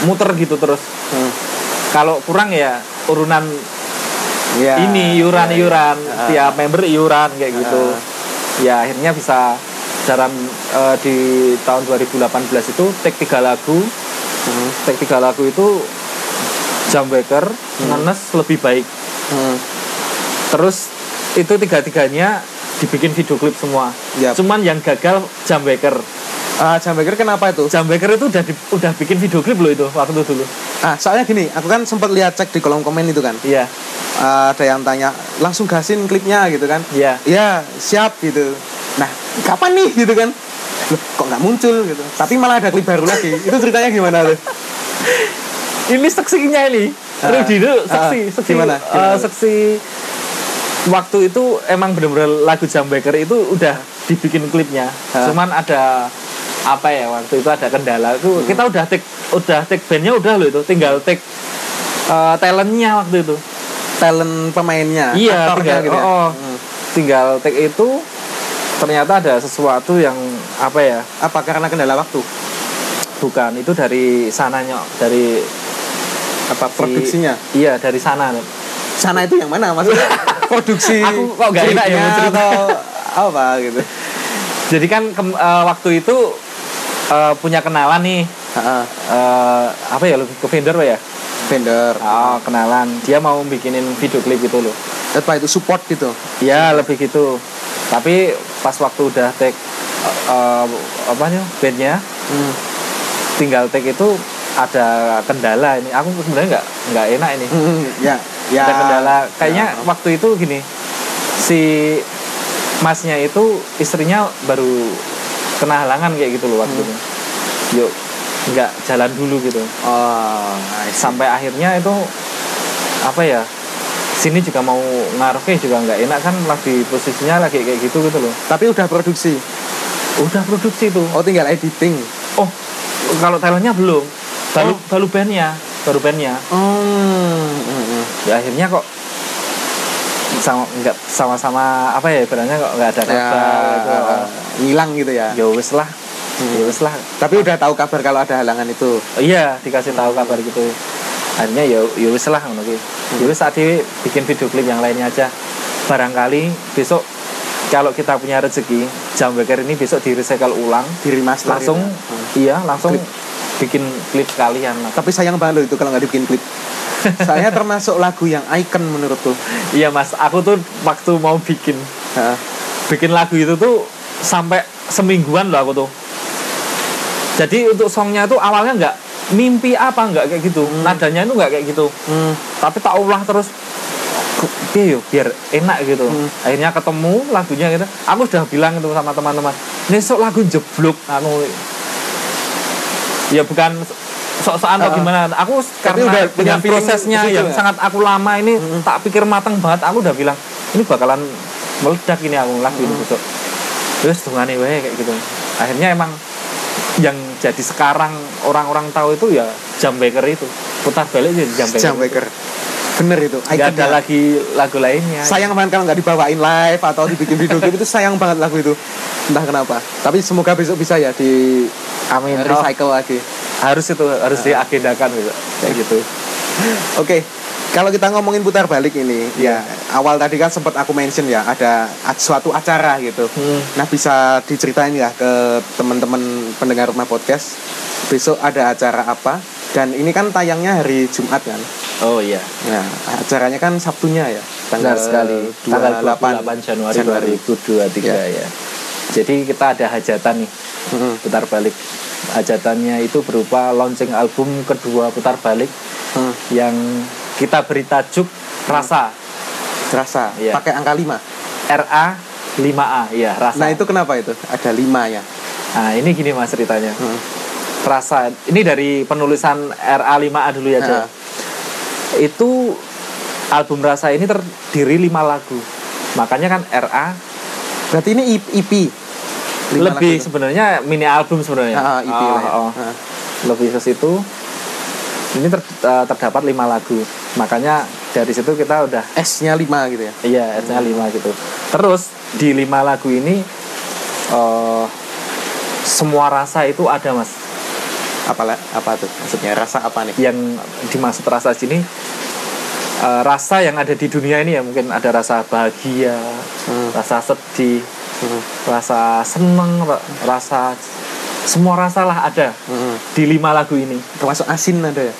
Speaker 2: muter gitu terus
Speaker 1: hmm.
Speaker 2: kalau kurang ya urunan
Speaker 1: Ya.
Speaker 2: ini iuran iuran
Speaker 1: Ah.
Speaker 2: tiap member iuran kayak gitu
Speaker 1: Ah.
Speaker 2: ya akhirnya bisa dalam eh, di tahun 2018 itu take tiga lagu
Speaker 1: Hmm,
Speaker 2: take tiga lagu itu jam Waker, Ngenes, lebih baik
Speaker 1: hmm.
Speaker 2: terus itu tiga tiganya dibikin video klip semua
Speaker 1: Yap.
Speaker 2: cuman yang gagal jam Waker.
Speaker 1: Ah, Jam Baker kenapa itu?
Speaker 2: jam Waker itu udah di- udah bikin video klip loh itu waktu dulu
Speaker 1: Ah, soalnya gini, aku kan sempat lihat cek di kolom komen itu kan.
Speaker 2: iya
Speaker 1: Ah, ada yang tanya, langsung gasin klipnya gitu kan.
Speaker 2: iya
Speaker 1: ya siap gitu nah kapan nih gitu kan Loh, kok nggak muncul gitu tapi malah ada klip baru lagi itu ceritanya gimana tuh
Speaker 2: ini seksinya ini
Speaker 1: Ah.
Speaker 2: Rudy itu seksi
Speaker 1: Ah,
Speaker 2: seksi
Speaker 1: gimana?
Speaker 2: eh,
Speaker 1: Gimana?
Speaker 2: seksi waktu itu emang bener-bener lagu Jam Baker itu udah dibikin klipnya
Speaker 1: Ah.
Speaker 2: cuman ada apa ya waktu itu ada kendala itu
Speaker 1: Hmm.
Speaker 2: kita udah take udah take bandnya udah loh itu tinggal take eh, talentnya waktu itu
Speaker 1: talent pemainnya
Speaker 2: iya
Speaker 1: aktornya
Speaker 2: tinggal
Speaker 1: gitu ya.
Speaker 2: oh, oh.
Speaker 1: Hmm.
Speaker 2: tinggal take itu ternyata ada sesuatu yang apa ya
Speaker 1: apa karena kendala waktu
Speaker 2: bukan itu dari sananya dari
Speaker 1: apa
Speaker 2: si-
Speaker 1: produksinya
Speaker 2: iya dari sana
Speaker 1: sana itu yang mana maksudnya produksi
Speaker 2: Aku kok nggak enak ya
Speaker 1: klipnya
Speaker 2: mau cerita.
Speaker 1: atau apa gitu
Speaker 2: Jadi kan kem- eh, waktu itu eh, punya kenalan nih
Speaker 1: Ah, ah.
Speaker 2: eh, apa ya lebih ke vendor Pak, ya?
Speaker 1: vendor
Speaker 2: Oh, kenalan. Dia mau bikinin video klip gitu loh.
Speaker 1: apa itu support gitu
Speaker 2: Ya lebih gitu. Tapi pas waktu udah take eh, eh, apa nih bandnya
Speaker 1: hmm.
Speaker 2: tinggal take itu ada kendala ini. Aku sebenarnya nggak nggak enak ini.
Speaker 1: Hmm, ya ya
Speaker 2: Ada kendala. Kayaknya
Speaker 1: Ya.
Speaker 2: waktu itu gini si masnya itu istrinya baru kena halangan kayak gitu loh waktu
Speaker 1: Hmm.
Speaker 2: itu. Yuk nggak jalan dulu gitu.
Speaker 1: oh nice.
Speaker 2: sampai akhirnya itu apa ya sini juga mau ngaruhnya juga nggak enak kan lagi posisinya lagi kayak gitu gitu loh
Speaker 1: tapi udah produksi
Speaker 2: udah produksi tuh
Speaker 1: oh tinggal editing
Speaker 2: oh kalau talentnya belum baru baru bandnya baru bandnya
Speaker 1: hmm. hmm, hmm.
Speaker 2: ya akhirnya kok sama nggak sama-sama apa ya ibaratnya kok nggak ada
Speaker 1: ya,
Speaker 2: kabar gitu.
Speaker 1: ngilang gitu ya
Speaker 2: ya wis lah ya wis lah
Speaker 1: Tapi udah tahu kabar kalau ada halangan itu.
Speaker 2: Oh, iya dikasih tahu kabar gitu akhirnya ya ya wis lah ngono ki ya wis tadi bikin video klip yang lainnya aja barangkali besok kalau kita punya rezeki jam beker ini besok di recycle ulang
Speaker 1: Diri master
Speaker 2: langsung
Speaker 1: gitu. Hmm.
Speaker 2: iya langsung
Speaker 1: Klip.
Speaker 2: bikin klip sekalian
Speaker 1: Tapi sayang banget loh itu kalau nggak dibikin klip. Saya termasuk lagu yang icon menurutku.
Speaker 2: iya mas aku tuh waktu mau bikin
Speaker 1: Heeh.
Speaker 2: bikin lagu itu tuh sampai semingguan loh aku tuh jadi untuk songnya tuh awalnya nggak mimpi apa nggak kayak gitu nadanya itu nggak kayak gitu
Speaker 1: Hmm.
Speaker 2: tapi tak ulah terus "Kok piye yo, biar enak gitu
Speaker 1: Hmm.
Speaker 2: akhirnya ketemu lagunya gitu aku udah bilang itu sama teman-teman besok lagu jeblok aku ya bukan sok-sokan atau
Speaker 1: Uh-uh.
Speaker 2: gimana aku
Speaker 1: Tapi
Speaker 2: karena
Speaker 1: udah punya
Speaker 2: dengan
Speaker 1: feeling
Speaker 2: prosesnya
Speaker 1: ke situ
Speaker 2: yang
Speaker 1: ya? Hmm.
Speaker 2: sangat aku lama ini tak pikir matang banget aku udah bilang ini bakalan meledak ini aku lagu
Speaker 1: Hmm.
Speaker 2: ini besok terus dungane wae kayak gitu akhirnya emang yang jadi sekarang orang-orang tahu itu ya jam baker itu putar balik jadi jam baker
Speaker 1: Jam Waker. Bener itu.
Speaker 2: nggak
Speaker 1: Icon ya.
Speaker 2: ada lagi lagu lainnya
Speaker 1: Sayang banget kalau nggak dibawain live atau dibikin video klip itu sayang banget lagu itu. Entah kenapa. Tapi semoga besok bisa ya di
Speaker 2: amin Oh,
Speaker 1: recycle lagi.
Speaker 2: harus itu harus diagendakan gitu kayak gitu
Speaker 1: Oke, kalau kita ngomongin putar balik ini, ya
Speaker 2: Iya.
Speaker 1: awal tadi kan sempat aku mention ya ada ac- suatu acara gitu.
Speaker 2: Hmm.
Speaker 1: Nah bisa diceritain ya ke teman-teman pendengar rumah podcast besok ada acara apa? Dan ini kan tayangnya hari Jumat kan?
Speaker 2: oh iya
Speaker 1: Nah acaranya kan Sabtunya ya.
Speaker 2: Benar sekali. Tanggal 28 Januari,
Speaker 1: Januari.
Speaker 2: 2023 ya. Jadi kita ada hajatan nih,
Speaker 1: Mm-mm.
Speaker 2: putar balik. Hajatannya itu berupa launching album kedua putar balik
Speaker 1: Hmm,
Speaker 2: yang kita beri tajuk Rasa
Speaker 1: terasa
Speaker 2: Iya.
Speaker 1: pakai angka 5
Speaker 2: RA 5A ya, Rasa.
Speaker 1: nah itu kenapa itu ada lima ya
Speaker 2: Nah, ini gini Mas ceritanya.
Speaker 1: Hmm.
Speaker 2: Rasa ini dari penulisan RA 5A dulu ya, Jel.
Speaker 1: Ah.
Speaker 2: Itu album Rasa ini terdiri 5 lagu. Makanya kan RA
Speaker 1: berarti ini I- IP Lima
Speaker 2: lebih
Speaker 1: lagu itu.
Speaker 2: sebenarnya mini album sebenarnya.
Speaker 1: Ah, ah, IP lah ya.
Speaker 2: Oh, oh.
Speaker 1: Ah.
Speaker 2: Lebih ke situ. Ini ter- eh, terdapat 5 lagu. Makanya dari situ kita udah
Speaker 1: S-nya 5 gitu ya.
Speaker 2: Iya, artinya lima gitu. Terus di lima lagu ini eh semua rasa itu ada mas.
Speaker 1: Apalah apa tuh? Maksudnya rasa apa nih?
Speaker 2: Yang dimaksud rasa di sini eh, rasa yang ada di dunia ini ya mungkin ada rasa bahagia,
Speaker 1: Hmm.
Speaker 2: rasa sedih,
Speaker 1: Hmm.
Speaker 2: rasa seneng, ra- rasa semua rasa lah ada
Speaker 1: Hmm.
Speaker 2: di lima lagu ini.
Speaker 1: Termasuk asin ada ya.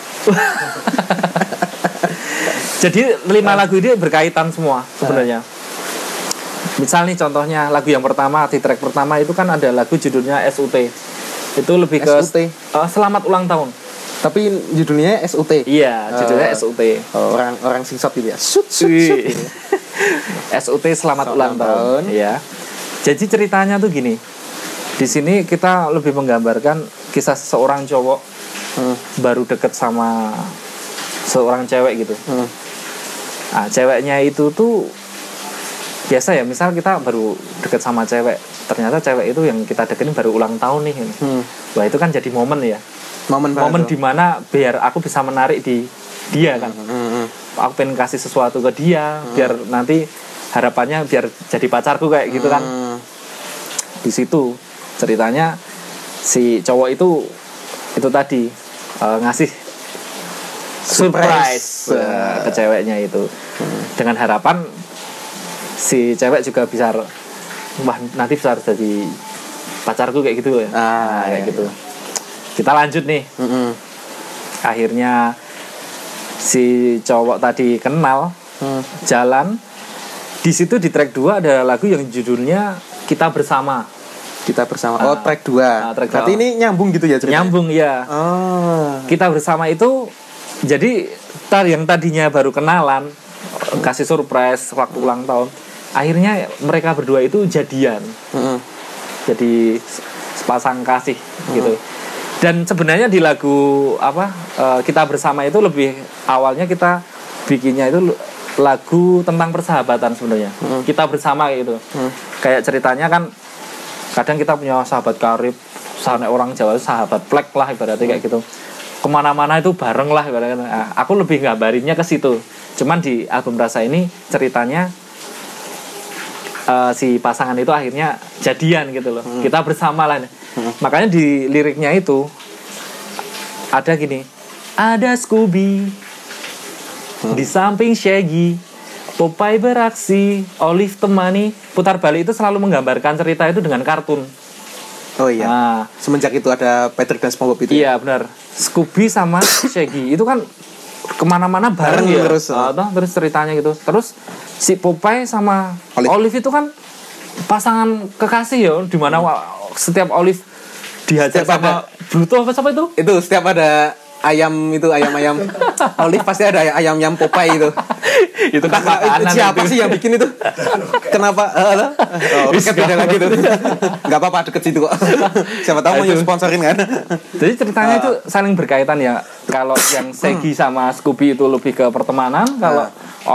Speaker 2: Jadi lima lagu ini berkaitan semua sebenarnya. Misal nih contohnya lagu yang pertama di track pertama itu kan ada lagu judulnya SUT. Itu lebih ke
Speaker 1: SUT.
Speaker 2: Eh, Selamat Ulang Tahun.
Speaker 1: Tapi judulnya SUT.
Speaker 2: Iya, judulnya
Speaker 1: Eh,
Speaker 2: SUT.
Speaker 1: Orang orang singsot gitu ya. Sut sut sut.
Speaker 2: Wih. SUT Selamat
Speaker 1: Selamat
Speaker 2: Ulang
Speaker 1: Tahun.
Speaker 2: Tahun. Iya. Jadi ceritanya tuh gini. Di sini kita lebih menggambarkan kisah seorang cowok
Speaker 1: Hmm.
Speaker 2: baru deket sama seorang cewek gitu.
Speaker 1: Hmm.
Speaker 2: Nah, ceweknya itu tuh biasa ya, misal kita baru deket sama cewek, ternyata cewek itu yang kita deketin baru ulang tahun nih.
Speaker 1: Hmm.
Speaker 2: Wah, itu kan jadi momen ya.
Speaker 1: Momen banget
Speaker 2: Momen
Speaker 1: tuh.
Speaker 2: dimana biar aku bisa menarik di dia kan.
Speaker 1: Hmm, hmm.
Speaker 2: Aku pengen kasih sesuatu ke dia, biar nanti harapannya biar jadi pacarku kayak gitu kan.
Speaker 1: Hmm.
Speaker 2: Di situ ceritanya si cowok itu itu tadi eh, ngasih surprise, eh, ke ceweknya itu dengan harapan si cewek juga bisa wah nanti bisa jadi pacarku kayak gitu ya
Speaker 1: Ah, iya,
Speaker 2: kayak gitu kita lanjut nih
Speaker 1: Hmm, hmm.
Speaker 2: akhirnya si cowok tadi kenal
Speaker 1: Hmm.
Speaker 2: jalan di situ di track 2 ada lagu yang judulnya kita bersama
Speaker 1: Kita bersama Oh,
Speaker 2: Ah.
Speaker 1: track 2.
Speaker 2: Ah, track
Speaker 1: Berarti
Speaker 2: dua.
Speaker 1: ini nyambung gitu ya ceritanya.
Speaker 2: nyambung ya
Speaker 1: Oh.
Speaker 2: kita bersama itu jadi tar yang tadinya baru kenalan kasih surprise waktu ulang tahun akhirnya mereka berdua itu jadian
Speaker 1: Hmm, hmm.
Speaker 2: jadi se- sepasang kasih gitu dan sebenarnya di lagu apa eh, kita bersama itu lebih awalnya kita bikinnya itu lu- lagu tentang persahabatan sebenarnya kita bersama kayak gitu
Speaker 1: Hmm.
Speaker 2: kayak ceritanya kan kadang kita punya sahabat karib sana orang Jawa sahabat plek lah ibaratnya kayak gitu kemana-mana itu bareng lah ibaratnya Nah, aku lebih gambarinnya ke situ cuman di album rasa ini ceritanya eh, si pasangan itu akhirnya jadian gitu loh kita bersama lah makanya di liriknya itu ada gini ada Scooby di samping Shaggy Popeye beraksi Olive temani putar balik itu selalu menggambarkan cerita itu dengan kartun
Speaker 1: Oh iya.
Speaker 2: nah
Speaker 1: Semenjak itu ada Patrick dan SpongeBob itu. ya?
Speaker 2: Iya benar. Scooby sama Shaggy itu kan kemana-mana bareng,
Speaker 1: Bareng gitu
Speaker 2: ya.
Speaker 1: terus.
Speaker 2: Ah, toh, terus ceritanya gitu. Terus si Popeye sama Olive,
Speaker 1: Olive.
Speaker 2: itu kan pasangan kekasih ya, di mana wa- setiap Olive
Speaker 1: Hmm.
Speaker 2: dihajar
Speaker 1: Setiap
Speaker 2: sama Bluto apa siapa itu?
Speaker 1: Itu setiap ada ayam itu ayam-ayam Olive pasti ada ayam-ayam Popeye itu.
Speaker 2: itu kan makanan.
Speaker 1: itu siapa
Speaker 2: itu.
Speaker 1: sih yang bikin itu? Kenapa? Eh, eh, oh,
Speaker 2: Wis,
Speaker 1: kan beda
Speaker 2: gak
Speaker 1: lagi tuh. Gak apa-apa deket situ kok. siapa tahu mau
Speaker 2: Aduh.
Speaker 1: sponsorin kan?
Speaker 2: Jadi
Speaker 1: Ah.
Speaker 2: ceritanya itu saling berkaitan ya. Kalau yang Shaggy sama Scooby itu lebih ke pertemanan, kalau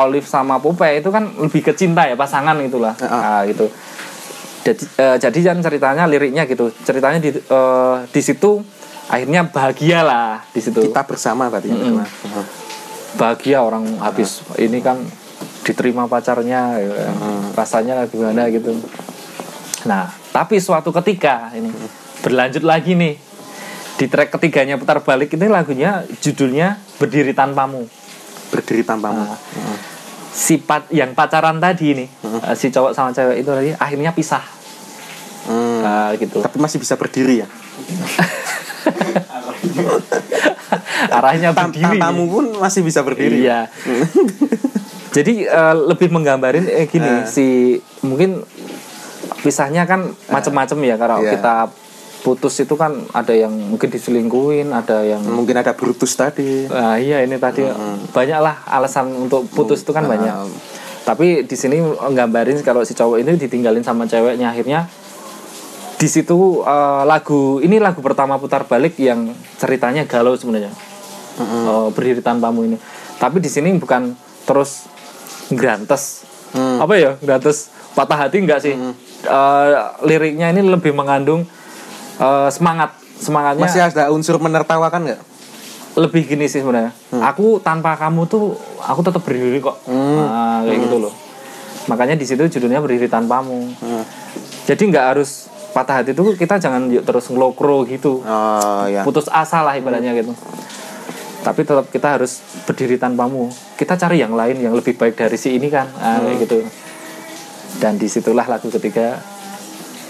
Speaker 2: Olive sama Popeye itu kan lebih ke cinta ya pasangan itulah.
Speaker 1: Ah.
Speaker 2: Nah, gitu. Jadi eh, jadi kan ceritanya liriknya gitu. Ceritanya di eh, di situ akhirnya bahagialah di situ.
Speaker 1: Kita bersama berarti. yang kedua. Heeh.
Speaker 2: Bahagia orang habis ini kan diterima pacarnya gitu ya. rasanya gimana gitu. Nah, tapi suatu ketika ini berlanjut lagi nih di track ketiganya putar balik ini lagunya judulnya berdiri tanpamu
Speaker 1: Berdiri tanpamu.
Speaker 2: Ah. si pat- yang pacaran tadi ini eh, si cowok sama cewek itu tadi akhirnya pisah
Speaker 1: Hmm.
Speaker 2: Ah, gitu
Speaker 1: Tapi masih bisa berdiri ya.
Speaker 2: arahnya
Speaker 1: Tam
Speaker 2: berdiri Ya,
Speaker 1: tanpamu pun masih bisa berdiri.
Speaker 2: iya Jadi eh, lebih menggambarin eh, gini si mungkin pisahnya kan macem-macem ya kalau
Speaker 1: Iya.
Speaker 2: kita putus itu kan ada yang mungkin diselingkuin, ada yang
Speaker 1: mungkin ada Brutus tadi
Speaker 2: Nah, iya ini tadi banyaklah alasan untuk putus itu kan banyak. Tapi di sini nggambarin kalau si cowok ini ditinggalin sama ceweknya akhirnya di situ eh, lagu ini lagu pertama putar balik yang ceritanya galau sebenarnya. Eh, berdiri tanpamu ini. Tapi di sini bukan terus grantes. Apa ya? Grantes patah hati enggak sih? Eh, liriknya ini lebih mengandung eh, semangat. Semangatnya
Speaker 1: masih ada unsur menertawakan nggak
Speaker 2: lebih gini sih sebenarnya. Aku tanpa kamu tuh aku tetap berdiri kok. Nah, kayak gitu loh. Makanya di situ judulnya berdiri tanpamu. Jadi nggak harus patah hati tuh kita jangan yuk terus ngelokro gitu.
Speaker 1: oh ya
Speaker 2: Putus asa lah ibaratnya gitu. Tapi tetap kita harus berdiri tanpamu. Kita cari yang lain yang lebih baik dari si ini kan. Nah, kayak gitu. Dan disitulah lagu ketiga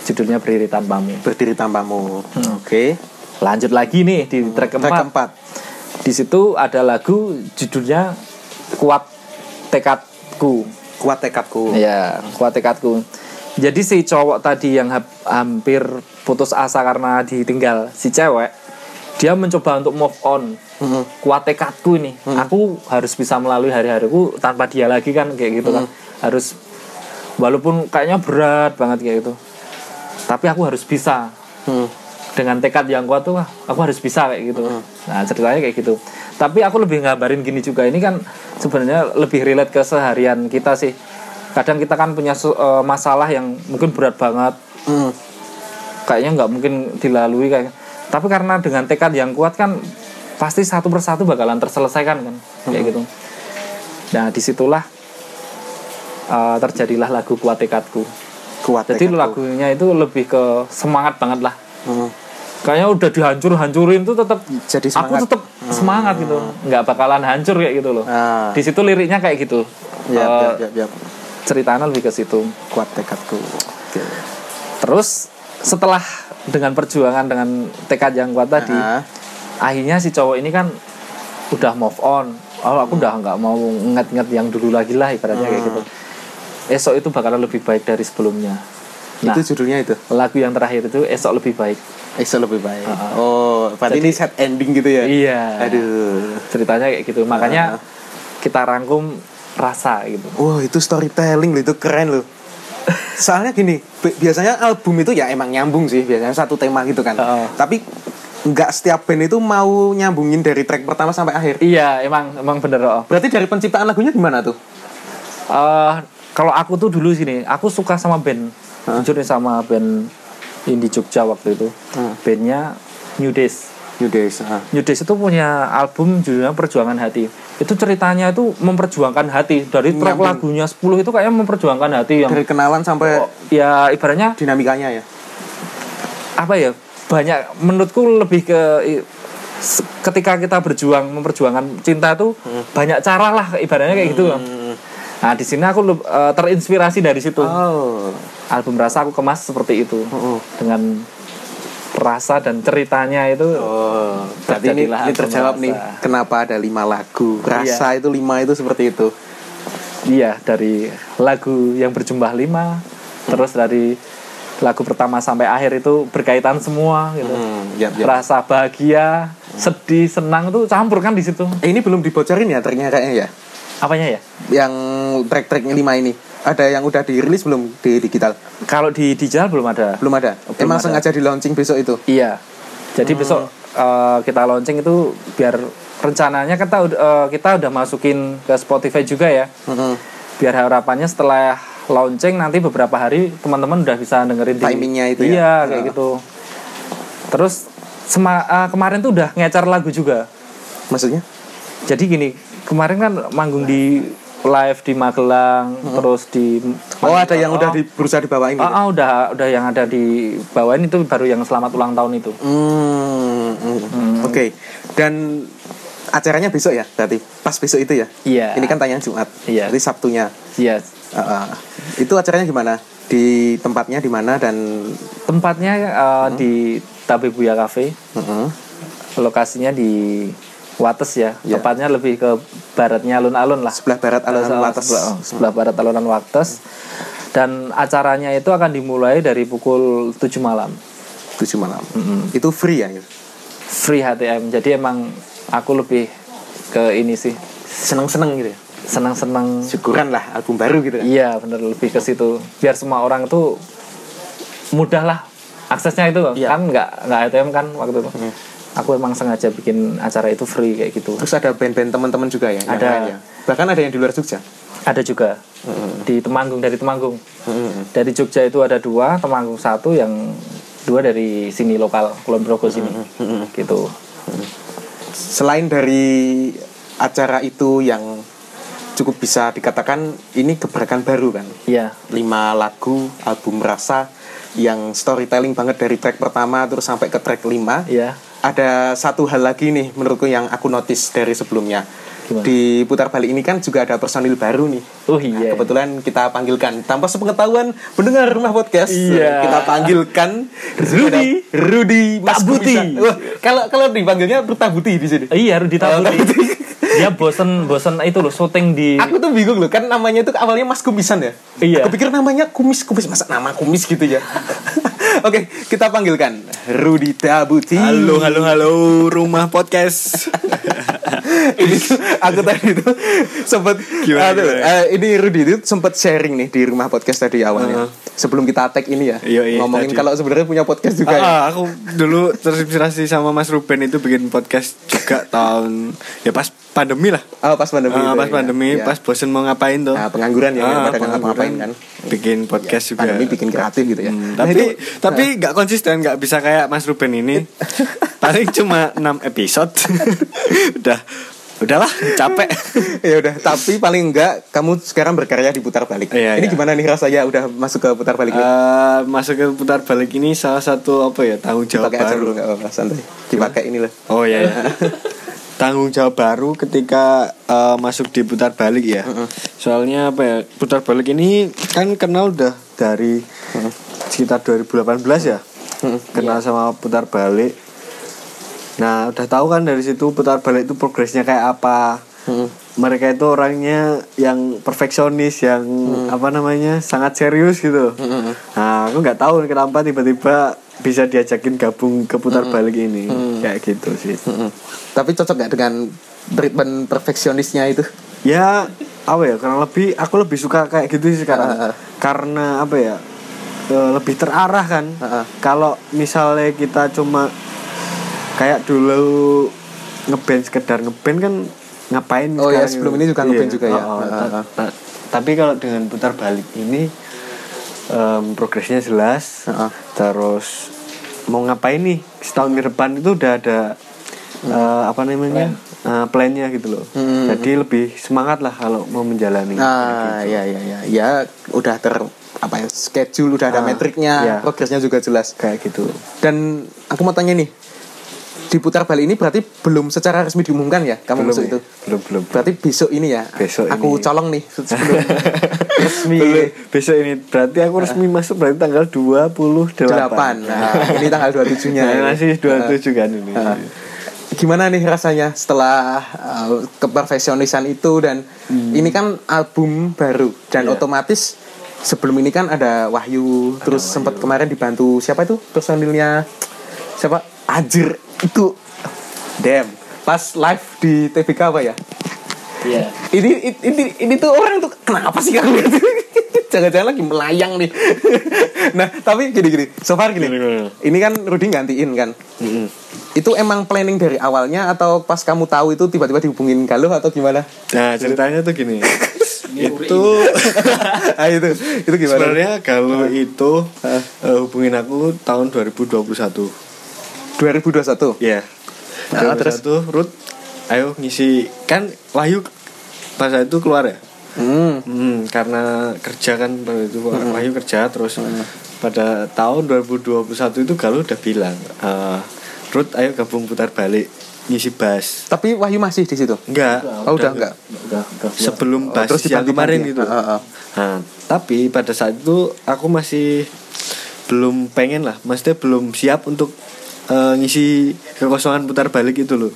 Speaker 2: judulnya berdiri tanpamu.
Speaker 1: berdiri tanpamu
Speaker 2: Hmm.
Speaker 1: oke
Speaker 2: Lanjut lagi nih di Hmm,
Speaker 1: track
Speaker 2: track keempat.
Speaker 1: keempat
Speaker 2: Di situ ada lagu judulnya Kuat Tekadku.
Speaker 1: kuat tekadku
Speaker 2: Ya, Kuat Tekadku. Jadi si cowok tadi yang hap- hampir putus asa karena ditinggal si cewek, dia mencoba untuk move on. Kuat tekadku ini. Aku harus bisa melalui hari-hariku tanpa dia lagi kan kayak gitu kan. Harus walaupun kayaknya berat banget kayak gitu. Tapi aku harus bisa
Speaker 1: Hmm.
Speaker 2: dengan tekad yang kuat tuh "Wah, aku harus bisa kayak gitu nah ceritanya kayak gitu tapi aku lebih ngabarin gini juga ini kan sebenarnya lebih relate ke seharian kita sih kadang kita kan punya su- eh, masalah yang mungkin berat banget
Speaker 1: Hmm.
Speaker 2: kayaknya nggak mungkin dilalui kayak gitu. tapi karena dengan tekad yang kuat kan pasti satu persatu bakalan terselesaikan kan kayak gitu nah disitulah eh, terjadilah lagu kuat tekadku
Speaker 1: kuat
Speaker 2: jadi
Speaker 1: tekadku.
Speaker 2: lagunya itu lebih ke semangat banget lah
Speaker 1: Hmm.
Speaker 2: kayaknya udah dihancur hancurin tuh tetap
Speaker 1: Jadi
Speaker 2: aku
Speaker 1: semangat. Hmm.
Speaker 2: tetap semangat gitu nggak bakalan hancur kayak gitu loh
Speaker 1: Ah.
Speaker 2: di situ liriknya kayak gitu
Speaker 1: ya,
Speaker 2: Eh,
Speaker 1: ya, ya, ya.
Speaker 2: ceritanya lebih ke situ
Speaker 1: kuat tekadku Oke.
Speaker 2: terus setelah dengan perjuangan dengan tekad yang kuat tadi
Speaker 1: Ah.
Speaker 2: akhirnya si cowok ini kan udah move on oh aku udah nggak mau nget-nget yang dulu lagi lah ibaratnya kayak gitu esok itu bakalan lebih baik dari sebelumnya nah
Speaker 1: Ah. itu judulnya itu
Speaker 2: lagu yang terakhir itu esok lebih baik
Speaker 1: Excel lebih baik oh berarti ini set ending gitu ya
Speaker 2: iya
Speaker 1: aduh
Speaker 2: ceritanya kayak gitu makanya kita rangkum rasa gitu
Speaker 1: Wah itu storytelling loh itu keren loh Soalnya gini bi- Biasanya album itu ya emang nyambung sih Biasanya satu tema gitu kan
Speaker 2: Heeh.
Speaker 1: Tapi nggak setiap band itu mau nyambungin dari track pertama sampai akhir
Speaker 2: iya emang emang bener oh
Speaker 1: Berarti dari penciptaan lagunya gimana tuh?
Speaker 2: Eh, kalau aku tuh dulu sini aku suka sama band jujur nih sama band indie Jogja waktu itu
Speaker 1: Hah.
Speaker 2: bandnya New Days
Speaker 1: New Days ah.
Speaker 2: New Days itu punya album judulnya Perjuangan Hati itu ceritanya itu memperjuangkan hati dari track
Speaker 1: Nyambung.
Speaker 2: lagunya 10 itu kayaknya memperjuangkan hati yang
Speaker 1: Dari kenalan sampai
Speaker 2: ya ibaratnya
Speaker 1: dinamikanya ya
Speaker 2: apa ya banyak menurutku lebih ke i- se- ketika kita berjuang memperjuangkan cinta tuh
Speaker 1: Hmm.
Speaker 2: banyak cara lah ibaratnya kayak gitu loh. Nah di sini aku leb- eh, terinspirasi dari situ
Speaker 1: Oh
Speaker 2: album rasa aku kemas seperti itu
Speaker 1: Mm-mm.
Speaker 2: dengan rasa dan ceritanya itu
Speaker 1: Oh, berarti ini,
Speaker 2: Terjadilah Iya.
Speaker 1: ini
Speaker 2: album
Speaker 1: terjawab nih
Speaker 2: Rasa.
Speaker 1: kenapa ada lima lagu rasa itu lima itu seperti itu
Speaker 2: iya dari lagu yang berjumlah lima
Speaker 1: Hmm.
Speaker 2: terus dari lagu pertama sampai akhir itu berkaitan semua gitu.
Speaker 1: Hmm, yap, yap.
Speaker 2: Rasa bahagia, sedih, senang tuh campur kan di situ.
Speaker 1: Eh, ini belum dibocorin ya tracknya kayaknya ya
Speaker 2: Apanya ya?
Speaker 1: yang track-track lima ini ada yang udah dirilis belum di digital
Speaker 2: Kalau di digital belum ada.
Speaker 1: belum ada
Speaker 2: Oh, Belum
Speaker 1: emang
Speaker 2: ada.
Speaker 1: sengaja di launching besok itu Oh.
Speaker 2: Iya. Jadi besok eh, kita launching itu biar rencananya kita ud- eh, kita udah masukin ke Spotify juga ya.
Speaker 1: Mm-mm.
Speaker 2: Biar harapannya setelah launching nanti beberapa hari teman-teman udah bisa dengerin di-
Speaker 1: Timingnya itu ya?
Speaker 2: Iya, kayak
Speaker 1: Ah.
Speaker 2: gitu. Terus sema- eh, kemarin tuh udah ngecar lagu juga.
Speaker 1: maksudnya
Speaker 2: Jadi gini, kemarin kan manggung di live di Magelang, terus di
Speaker 1: Hmm. oh ada yang udah di berusaha dibawain
Speaker 2: Oh,
Speaker 1: gitu
Speaker 2: oh, udah udah yang ada di bawah ini tuh baru yang selamat ulang tahun itu.
Speaker 1: Hmm, hmm. oke dan acaranya besok ya berarti pas besok itu ya
Speaker 2: Iya.
Speaker 1: ini kan tayang Jumat
Speaker 2: Iya.
Speaker 1: jadi Sabtunya
Speaker 2: Yes.
Speaker 1: Ah, ah. itu acaranya gimana di tempatnya di mana dan
Speaker 2: Tempatnya eh,
Speaker 1: Hmm.
Speaker 2: di Tabebuya Cafe,
Speaker 1: Mm-mm.
Speaker 2: lokasinya di Wates ya.
Speaker 1: Ya.
Speaker 2: Tempatnya lebih ke baratnya alun-alun lah
Speaker 1: sebelah oh. barat alun-alun Wates. Hmm.
Speaker 2: sebelah, sebelah barat alun-alun Wates dan acaranya itu akan dimulai dari pukul 7 malam
Speaker 1: tujuh malam. Itu free ya. Gitu.
Speaker 2: free HTM jadi emang aku lebih ke ini sih
Speaker 1: Seneng-seneng gitu ya.
Speaker 2: senang-senang
Speaker 1: Syukuran lah album baru gitu kan.
Speaker 2: iya bener lebih ke situ biar semua orang tuh mudah lah aksesnya itu
Speaker 1: Iya. Hmm.
Speaker 2: kan nggak nggak ATM kan waktu itu aku emang sengaja bikin acara itu free kayak gitu
Speaker 1: Terus ada band-band teman-teman juga ya. yang
Speaker 2: Ada.
Speaker 1: lain ya? Bahkan ada yang di luar Jogja.
Speaker 2: ada juga
Speaker 1: Hmm.
Speaker 2: di Temanggung dari Temanggung dari Jogja itu ada dua Temanggung satu yang dua dari sini lokal Kulon Progo sini
Speaker 1: Hmm,
Speaker 2: gitu
Speaker 1: Selain dari acara itu yang cukup bisa dikatakan ini gebrakan baru kan.
Speaker 2: iya
Speaker 1: lima lagu album rasa yang storytelling banget dari track pertama terus sampai ke track lima
Speaker 2: iya
Speaker 1: ada satu hal lagi nih menurutku yang aku notice dari sebelumnya
Speaker 2: Gimana?
Speaker 1: di putar balik ini kan juga ada personil baru nih
Speaker 2: oh iya
Speaker 1: Nah, kebetulan kita panggilkan tanpa sepengetahuan pendengar rumah podcast
Speaker 2: Iya.
Speaker 1: kita panggilkan
Speaker 2: Rudy.
Speaker 1: Rudy Mas
Speaker 2: Tabuti.
Speaker 1: Gumisa. Wah, kalau kalau dipanggilnya Tabuti di sini
Speaker 2: iya harus ditabuti dia bosen bosen itu loh syuting di
Speaker 1: Aku tuh bingung loh, kan namanya itu awalnya Mas Kumisan ya.
Speaker 2: Iya.
Speaker 1: Aku pikir namanya Kumis Kumis masa nama Kumis gitu ya. Oke, kita panggilkan Rudi Dabuti.
Speaker 3: Halo, halo, halo, rumah podcast.
Speaker 1: ini tuh, aku tadi itu sempat
Speaker 3: Gimana, gimana?
Speaker 1: ini Rudi itu sempat sharing nih di rumah podcast tadi awalnya. Sebelum kita tag ini ya,
Speaker 3: Iya, iya,
Speaker 1: ngomongin
Speaker 3: tadi.
Speaker 1: kalau sebenarnya punya podcast juga ya.
Speaker 3: Ah, aku dulu terinspirasi sama Mas Ruben itu bikin podcast juga tahun ya pas pandemi lah.
Speaker 1: Oh, pas pandemi.
Speaker 3: Ah,
Speaker 1: itu
Speaker 3: pas
Speaker 1: ya.
Speaker 3: pandemi,
Speaker 1: Iya.
Speaker 3: pas bosen mau ngapain tuh.
Speaker 1: Nah, pengangguran ya,
Speaker 3: Ah,
Speaker 1: pada nggak
Speaker 3: pengangguran,
Speaker 1: ngapa-ngapain kan.
Speaker 3: Bikin podcast juga.
Speaker 1: Ya, Pandemi bikin kreatif gitu ya.
Speaker 3: Hmm,
Speaker 1: Nah,
Speaker 3: tapi
Speaker 1: itu-
Speaker 3: tapi nggak konsisten nggak bisa kayak Mas Ruben ini paling cuma 6 episode udah udahlah capek
Speaker 1: ya udah tapi paling enggak kamu sekarang berkarya di putar balik
Speaker 3: Iya,
Speaker 1: ini
Speaker 3: iya.
Speaker 1: gimana nih rasanya udah masuk ke putar balik nih?
Speaker 3: Eh, masuk ke putar balik ini salah satu apa ya tanggung jawab
Speaker 1: pakai aja dulu
Speaker 3: baru
Speaker 1: nggak apa-apa santai dipakai ini loh
Speaker 3: oh ya tanggung jawab baru ketika eh, masuk di putar balik ya soalnya apa ya putar balik ini kan kenal udah dari sekitar 2018 ya kenal sama putar balik Nah, udah tahu kan dari situ putar balik itu progresnya kayak apa. Mereka itu orangnya yang perfeksionis, yang apa namanya sangat serius gitu. Nah, aku nggak tahu kenapa tiba-tiba bisa diajakin gabung ke putar balik ini, kayak gitu sih.
Speaker 1: Mm-mm. tapi cocok nggak dengan treatment perfeksionisnya itu
Speaker 3: Ya, apa ya? Karena lebih aku lebih suka kayak gitu sih sekarang.
Speaker 1: Ah, ah.
Speaker 3: Karena apa ya? e, lebih terarah kan.
Speaker 1: Ah, ah.
Speaker 3: Kalau misalnya kita cuma kayak dulu ngeband sekedar ngeband kan ngapain
Speaker 1: Oh ya,
Speaker 3: sekarang
Speaker 1: sebelum
Speaker 3: gitu.
Speaker 1: ini juga ngeband juga ya.
Speaker 3: oh, oh.
Speaker 1: Ah, ah, ah.
Speaker 3: Ta- ta- Tapi kalau dengan putar balik ini em, progresnya jelas.
Speaker 1: Ah, ah.
Speaker 3: Terus mau ngapain nih setahun ke depan itu udah ada eh, apa namanya eh, plannya gitu loh. Jadi lebih semangat lah kalau mau menjalani.
Speaker 1: Hmm, nah ya ya ya ya udah ter apa ya schedule udah ada
Speaker 3: Ah,
Speaker 1: metriknya
Speaker 3: iya.
Speaker 1: progresnya juga jelas
Speaker 3: Kayak gitu.
Speaker 1: dan aku mau tanya nih di putar balik ini berarti belum secara resmi diumumkan ya kamu
Speaker 3: Belum
Speaker 1: masuk
Speaker 3: ya?
Speaker 1: itu
Speaker 3: Belum belum.
Speaker 1: berarti besok ini ya
Speaker 3: Besok
Speaker 1: aku
Speaker 3: ini.
Speaker 1: colong nih sebelum resmi
Speaker 3: Belum. Besok ini berarti aku resmi masuk berarti tanggal 28.
Speaker 1: Nah. delapan nah ini Nah. tanggal 27 nya
Speaker 3: Nah, masih 27 kan ini.
Speaker 1: Ah. gimana nih rasanya setelah uh, keprofesionisan itu dan ini kan album baru dan otomatis sebelum ini kan Iya. ada Wahyu terus sempat kemarin dibantu siapa itu personilnya siapa Ajir itu damn pas live di TVK apa ya
Speaker 2: iya
Speaker 1: ini ini ini tuh orang tuh kenapa sih kamu jangan-jangan lagi melayang nih nah tapi gini gini so far gini
Speaker 3: Gini-gini.
Speaker 1: ini kan Rudy gantiin kan itu emang planning dari awalnya atau pas kamu tahu itu tiba-tiba dihubungin Galuh atau gimana
Speaker 3: Nah, ceritanya tuh gini. itu
Speaker 1: ah itu itu gimana Nah.
Speaker 3: sebenarnya kalau itu eh, hubungin aku tahun 2021.
Speaker 1: 2021
Speaker 3: Iya.
Speaker 1: Nah, terus?
Speaker 3: terus tuh Ruth ayo ngisi kan Wahyu pas saat itu keluar ya.
Speaker 1: hmm.
Speaker 3: Hmm, karena kerja kan pada itu Wahyu kerja terus
Speaker 1: Hmm.
Speaker 3: pada tahun 2021 itu Galuh udah bilang eh Ruth ayo gabung putar balik ngisi bass.
Speaker 1: tapi Wahyu masih di situ
Speaker 3: Enggak.
Speaker 1: oh udah enggak
Speaker 2: udah, udah.
Speaker 1: Oh,
Speaker 3: Sebelum bass
Speaker 1: terus
Speaker 3: yang
Speaker 1: dipanggil-panggil ya?
Speaker 3: kemarin gitu.
Speaker 1: Ah, ah, ah.
Speaker 3: Nah, tapi pada saat itu aku masih belum pengen lah, maksudnya belum siap untuk eh, ngisi kekosongan putar balik itu loh.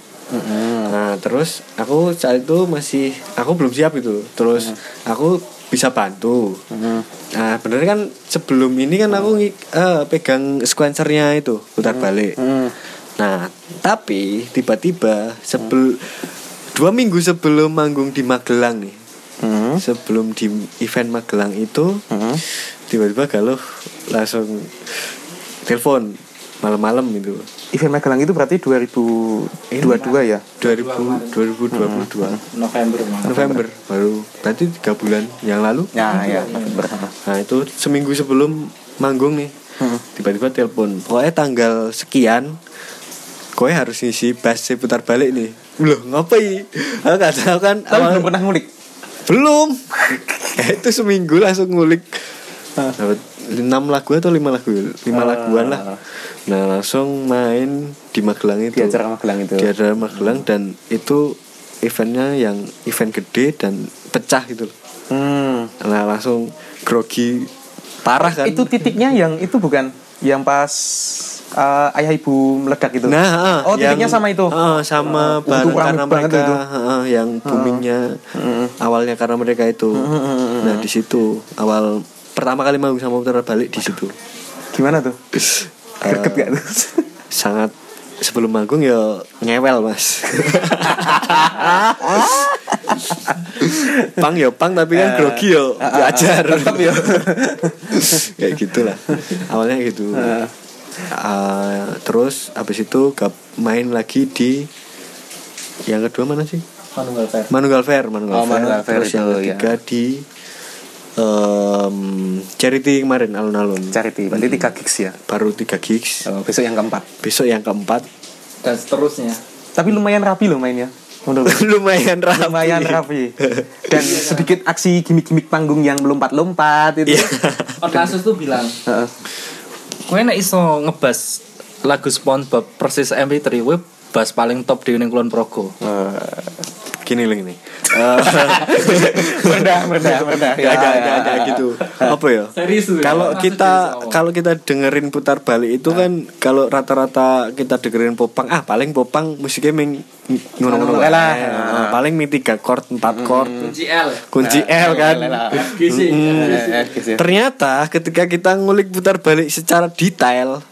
Speaker 3: Nah terus aku saat itu masih aku belum siap itu. Terus aku bisa bantu. Nah bener kan sebelum ini kan aku ngi- eh, pegang sequencernya itu putar balik. Nah tapi tiba-tiba sebel dua minggu sebelum manggung di Magelang nih.
Speaker 1: Hmm.
Speaker 3: Sebelum di event Magelang itu
Speaker 1: Hmm.
Speaker 3: tiba-tiba galuh langsung telepon malam-malam itu
Speaker 1: Event Magelang itu berarti 2022 ya.
Speaker 3: 2000
Speaker 1: Hmm,
Speaker 3: 2022
Speaker 2: November Mas.
Speaker 3: November baru berarti tiga bulan yang lalu
Speaker 1: Ya, ya, November.
Speaker 3: nah itu seminggu sebelum manggung nih
Speaker 1: Hmm.
Speaker 3: tiba-tiba telepon pokoknya tanggal sekian kowe harus ngisi bass putar balik nih loh ngapain aku gak tahu kan
Speaker 1: Tapi
Speaker 3: awal-
Speaker 1: belum pernah ngulik.
Speaker 3: belum Eh, itu seminggu langsung ngulik
Speaker 1: Ah.
Speaker 3: dapat enam lagu atau lima lagu lima laguan lah nah langsung main di Magelang itu
Speaker 1: Di acara Magelang itu.
Speaker 3: di acara Magelang dan itu eventnya yang event gede dan pecah gitu loh
Speaker 1: Hmm.
Speaker 3: nah langsung grogi parah kan
Speaker 1: Itu titiknya yang itu bukan yang pas eh, ayah ibu meledak itu.
Speaker 3: nah ah,
Speaker 1: oh titiknya
Speaker 3: yang-
Speaker 1: sama itu.
Speaker 3: ah, sama
Speaker 1: Itu
Speaker 3: bareng
Speaker 1: rame
Speaker 3: karena
Speaker 1: banget
Speaker 3: mereka
Speaker 1: itu.
Speaker 3: ah, ah, yang boomingnya awalnya karena mereka itu nah di situ awal pertama kali mau sama putar balik di situ
Speaker 1: Gimana tuh? Greget gak tuh?
Speaker 3: sangat sebelum manggung ya ngewel mas pang ya pang
Speaker 1: Eh,
Speaker 3: tapi kan grogi ya wajar kayak gitulah awalnya gitu Eh, terus habis itu gab- main lagi di yang kedua mana sih
Speaker 2: Manual Fair.
Speaker 3: Manunggal Fair Manunggal
Speaker 1: Oh, Manunggal Fair
Speaker 3: terus yang
Speaker 1: itu,
Speaker 3: ketiga di em, charity kemarin alun-alun Hmm.
Speaker 1: Charity, berarti 3 gigs ya.
Speaker 3: baru 3 gigs
Speaker 1: Oh, besok yang keempat.
Speaker 3: besok yang keempat
Speaker 2: Dan seterusnya.
Speaker 1: Tapi lumayan rapi loh mainnya. Menurut gue.
Speaker 3: lumayan rapi.
Speaker 1: lumayan rapi dan sedikit aksi gimmick-gimmick panggung yang melompat-lompat itu.
Speaker 2: Orkasus tuh bilang,
Speaker 1: Heeh.
Speaker 2: "Kowe nek iso ngebas lagu SpongeBob persis MP3 kowe bass paling top di Ning Kulon Progo."
Speaker 3: Gini loh gini. Eh,
Speaker 1: Merendah, merendah, merendah.
Speaker 3: Gak ada gak ada gitu. Apa ya?
Speaker 2: Serius tuh ya?
Speaker 3: Kalau
Speaker 2: Maksud
Speaker 3: kita
Speaker 2: serius,
Speaker 3: kalau kita dengerin putar balik itu kan kalau rata-rata kita dengerin popang ah paling popang musiknya meng ngono-ngono Hmm.
Speaker 1: Ngono-ngono lah.
Speaker 3: Eh, ah, Paling ming 3 chord, 4 chord.
Speaker 2: Kunci L.
Speaker 3: Kunci L kan.
Speaker 2: Gizi.
Speaker 1: Hmm.
Speaker 3: Iya Ternyata ketika kita ngulik putar balik secara detail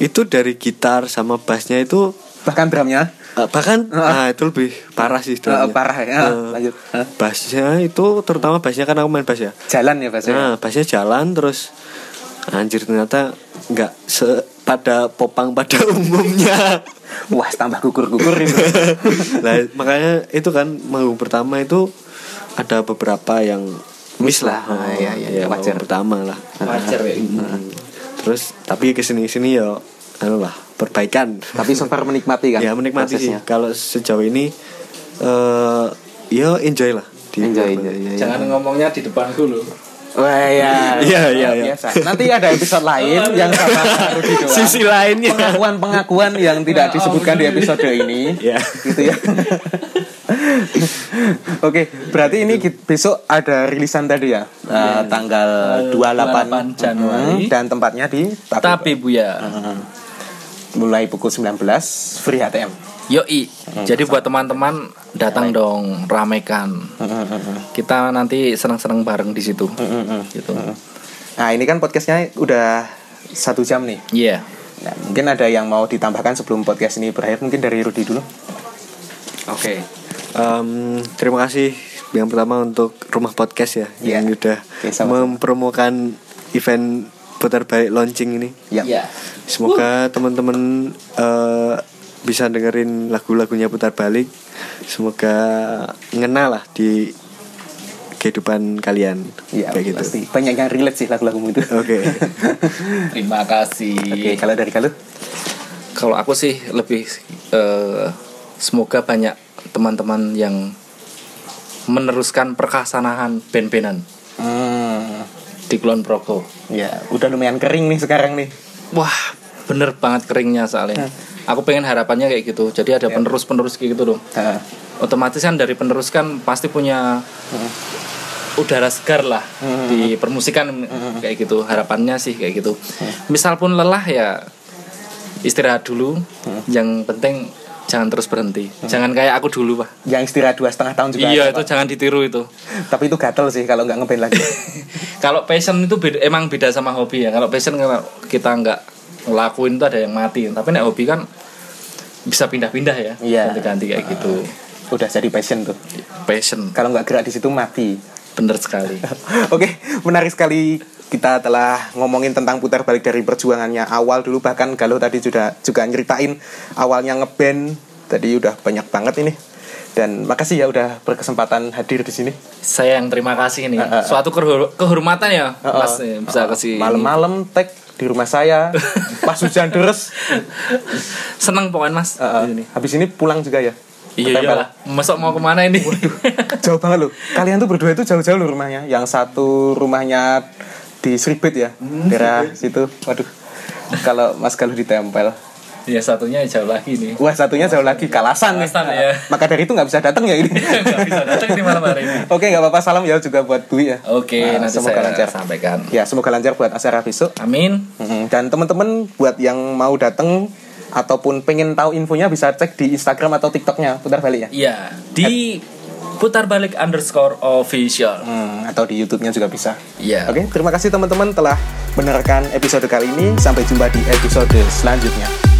Speaker 3: itu dari gitar sama bassnya itu
Speaker 1: Bahkan drumnya
Speaker 3: Eh, bahkan nah itu lebih parah sih
Speaker 1: eh,
Speaker 3: sebenarnya.
Speaker 1: parah ya.
Speaker 3: Eh,
Speaker 1: Lanjut. Eh,
Speaker 3: bassnya itu terutama bassnya kan aku main bass ya
Speaker 1: Jalan ya Pak.
Speaker 3: nah bassnya jalan terus anjir ternyata nggak se pada popang pada umumnya
Speaker 1: Wah, tambah gugur-gugur itu.
Speaker 3: Lah, makanya itu kan manggung pertama itu ada beberapa yang miss lah
Speaker 1: Ah, iya, iya,
Speaker 3: Ya,
Speaker 1: wajar.
Speaker 3: manggung pertama lah
Speaker 2: Wajar ya.
Speaker 3: Hmm. terus tapi kesini sini ya anu lah perbaikan
Speaker 1: Tapi so far menikmati kan.
Speaker 3: ya menikmati sih
Speaker 1: prosesnya.
Speaker 3: kalau sejauh ini eh ya enjoy lah di
Speaker 1: Enjoy, enjoy, iya, enjoy.
Speaker 2: Jangan ngomongnya di depanku loh.
Speaker 1: Wah, ya.
Speaker 3: Iya, iya, iya.
Speaker 1: Biasa. Nanti ada episode lain yang sama Rudi doang.
Speaker 3: sisi lainnya
Speaker 1: pengakuan-pengakuan yang tidak disebutkan di episode ini
Speaker 3: Ya.
Speaker 1: gitu ya Oke, berarti
Speaker 3: Gitu.
Speaker 1: ini ki- besok ada rilisan tadi ya, eh,
Speaker 3: Iya.
Speaker 1: tanggal 28,
Speaker 2: 28 Januari.
Speaker 1: Mm, dan tempatnya di Tab-
Speaker 2: Tapi Buya.
Speaker 1: mulai pukul 19 free HTM.
Speaker 2: Yoi. Jadi buat teman-teman datang dong ramekan.
Speaker 1: Hmm.
Speaker 3: Mm-hmm.
Speaker 2: Kita nanti seneng-seneng bareng di situ. Gitu.
Speaker 1: Nah ini kan podcastnya udah satu jam nih.
Speaker 2: Iya.
Speaker 1: Nah, mungkin ada yang mau ditambahkan sebelum podcast ini berakhir mungkin dari Rudi dulu.
Speaker 3: Oke. Em, terima kasih yang pertama untuk Rumah Podcast ya
Speaker 1: Iya.
Speaker 3: yang udah
Speaker 1: Oke, sama-sama.
Speaker 3: mempromokan event putar balik launching ini.
Speaker 1: Ya.
Speaker 2: Iya.
Speaker 3: Semoga teman-teman eh, bisa dengerin lagu-lagunya putar balik. Semoga ngena lah di kehidupan kalian
Speaker 1: Ya,
Speaker 3: kayak gitu.
Speaker 1: pasti banyak yang relate sih lagu-lagumu itu.
Speaker 3: Oke.
Speaker 2: Terima kasih.
Speaker 1: Oke, kalau dari kalau
Speaker 2: Kalau aku sih lebih eh, semoga banyak teman-teman yang meneruskan perkasanahan ben-benan
Speaker 1: Hmm,
Speaker 2: di Kulon Progo.
Speaker 1: ya udah lumayan kering nih sekarang nih.
Speaker 2: Wah, bener banget keringnya soalnya. Aku pengen harapannya kayak gitu. Jadi ada penerus-penerus kayak gitu loh.
Speaker 1: Heeh.
Speaker 2: Otomatis kan dari penerus kan pasti punya
Speaker 1: Hmm.
Speaker 2: udara segar lah di permusikan
Speaker 1: Hmm.
Speaker 2: kayak gitu. Harapannya sih kayak gitu.
Speaker 1: Hmm.
Speaker 2: Misal pun lelah ya istirahat dulu. Yang penting jangan terus berhenti. Jangan kayak aku dulu, Pak.
Speaker 1: yang istirahat dua setengah tahun Hmm. juga
Speaker 2: Iya,
Speaker 1: ada,
Speaker 2: itu
Speaker 1: Pak.
Speaker 2: jangan ditiru itu.
Speaker 1: tapi itu gatel sih kalau nggak ngeband lagi
Speaker 2: Kalau passion itu beda- emang beda sama hobi ya. Kalau passion kalau kita nggak ngelakuin itu ada yang mati. Tapi nek hobi kan bisa pindah-pindah ya.
Speaker 1: Iya.
Speaker 2: Ganti-ganti kayak gitu.
Speaker 1: udah jadi passion tuh
Speaker 2: Passion
Speaker 1: kalau nggak gerak di situ mati
Speaker 2: bener sekali.
Speaker 1: Oke, menarik sekali kita telah ngomongin tentang putar balik dari perjuangannya awal dulu bahkan Galuh tadi sudah juga nyeritain awalnya ngeband tadi udah banyak banget ini dan makasih ya udah berkesempatan hadir di sini
Speaker 2: Saya yang terima kasih nih. Suatu kehor- kehormatan ya, Mas eh, bisa kasih.
Speaker 1: malam-malam tag di rumah saya pas hujan deres
Speaker 2: Seneng pokoknya, Mas.
Speaker 1: Eh, eh, habis ini pulang juga ya
Speaker 2: Iya
Speaker 1: Tempel.
Speaker 2: iyalah. Masuk mau kemana ini?
Speaker 1: jauh banget loh kalian tuh berdua itu jauh-jauh loh rumahnya yang satu rumahnya di Sribet ya
Speaker 2: Hmm,
Speaker 1: daerah situ waduh kalau Mas Galuh ditempel
Speaker 2: ya satunya jauh lagi nih.
Speaker 1: Wah satunya jauh lagi kalasan nih.
Speaker 2: Kalasan, ya.
Speaker 1: Maka dari itu nggak bisa datang ya ini.
Speaker 2: Nggak bisa datang ini malam hari ini.
Speaker 1: Oke nggak apa-apa salam ya juga buat Dwi ya.
Speaker 2: Oke,
Speaker 1: Nah,
Speaker 2: nanti
Speaker 1: semoga
Speaker 2: saya
Speaker 1: lancar.
Speaker 2: sampaikan.
Speaker 1: Ya semoga lancar buat acara besok.
Speaker 2: Amin.
Speaker 1: Mm, Dan teman-teman buat yang mau datang ataupun pengen tahu infonya bisa cek di Instagram atau TikToknya putar balik ya.
Speaker 2: Iya, di putar balik underscore official.
Speaker 1: Hmm, atau di YouTube-nya juga bisa.
Speaker 2: Iya.
Speaker 1: Oke terima kasih teman-teman telah menerkan episode kali ini. Sampai jumpa di episode selanjutnya.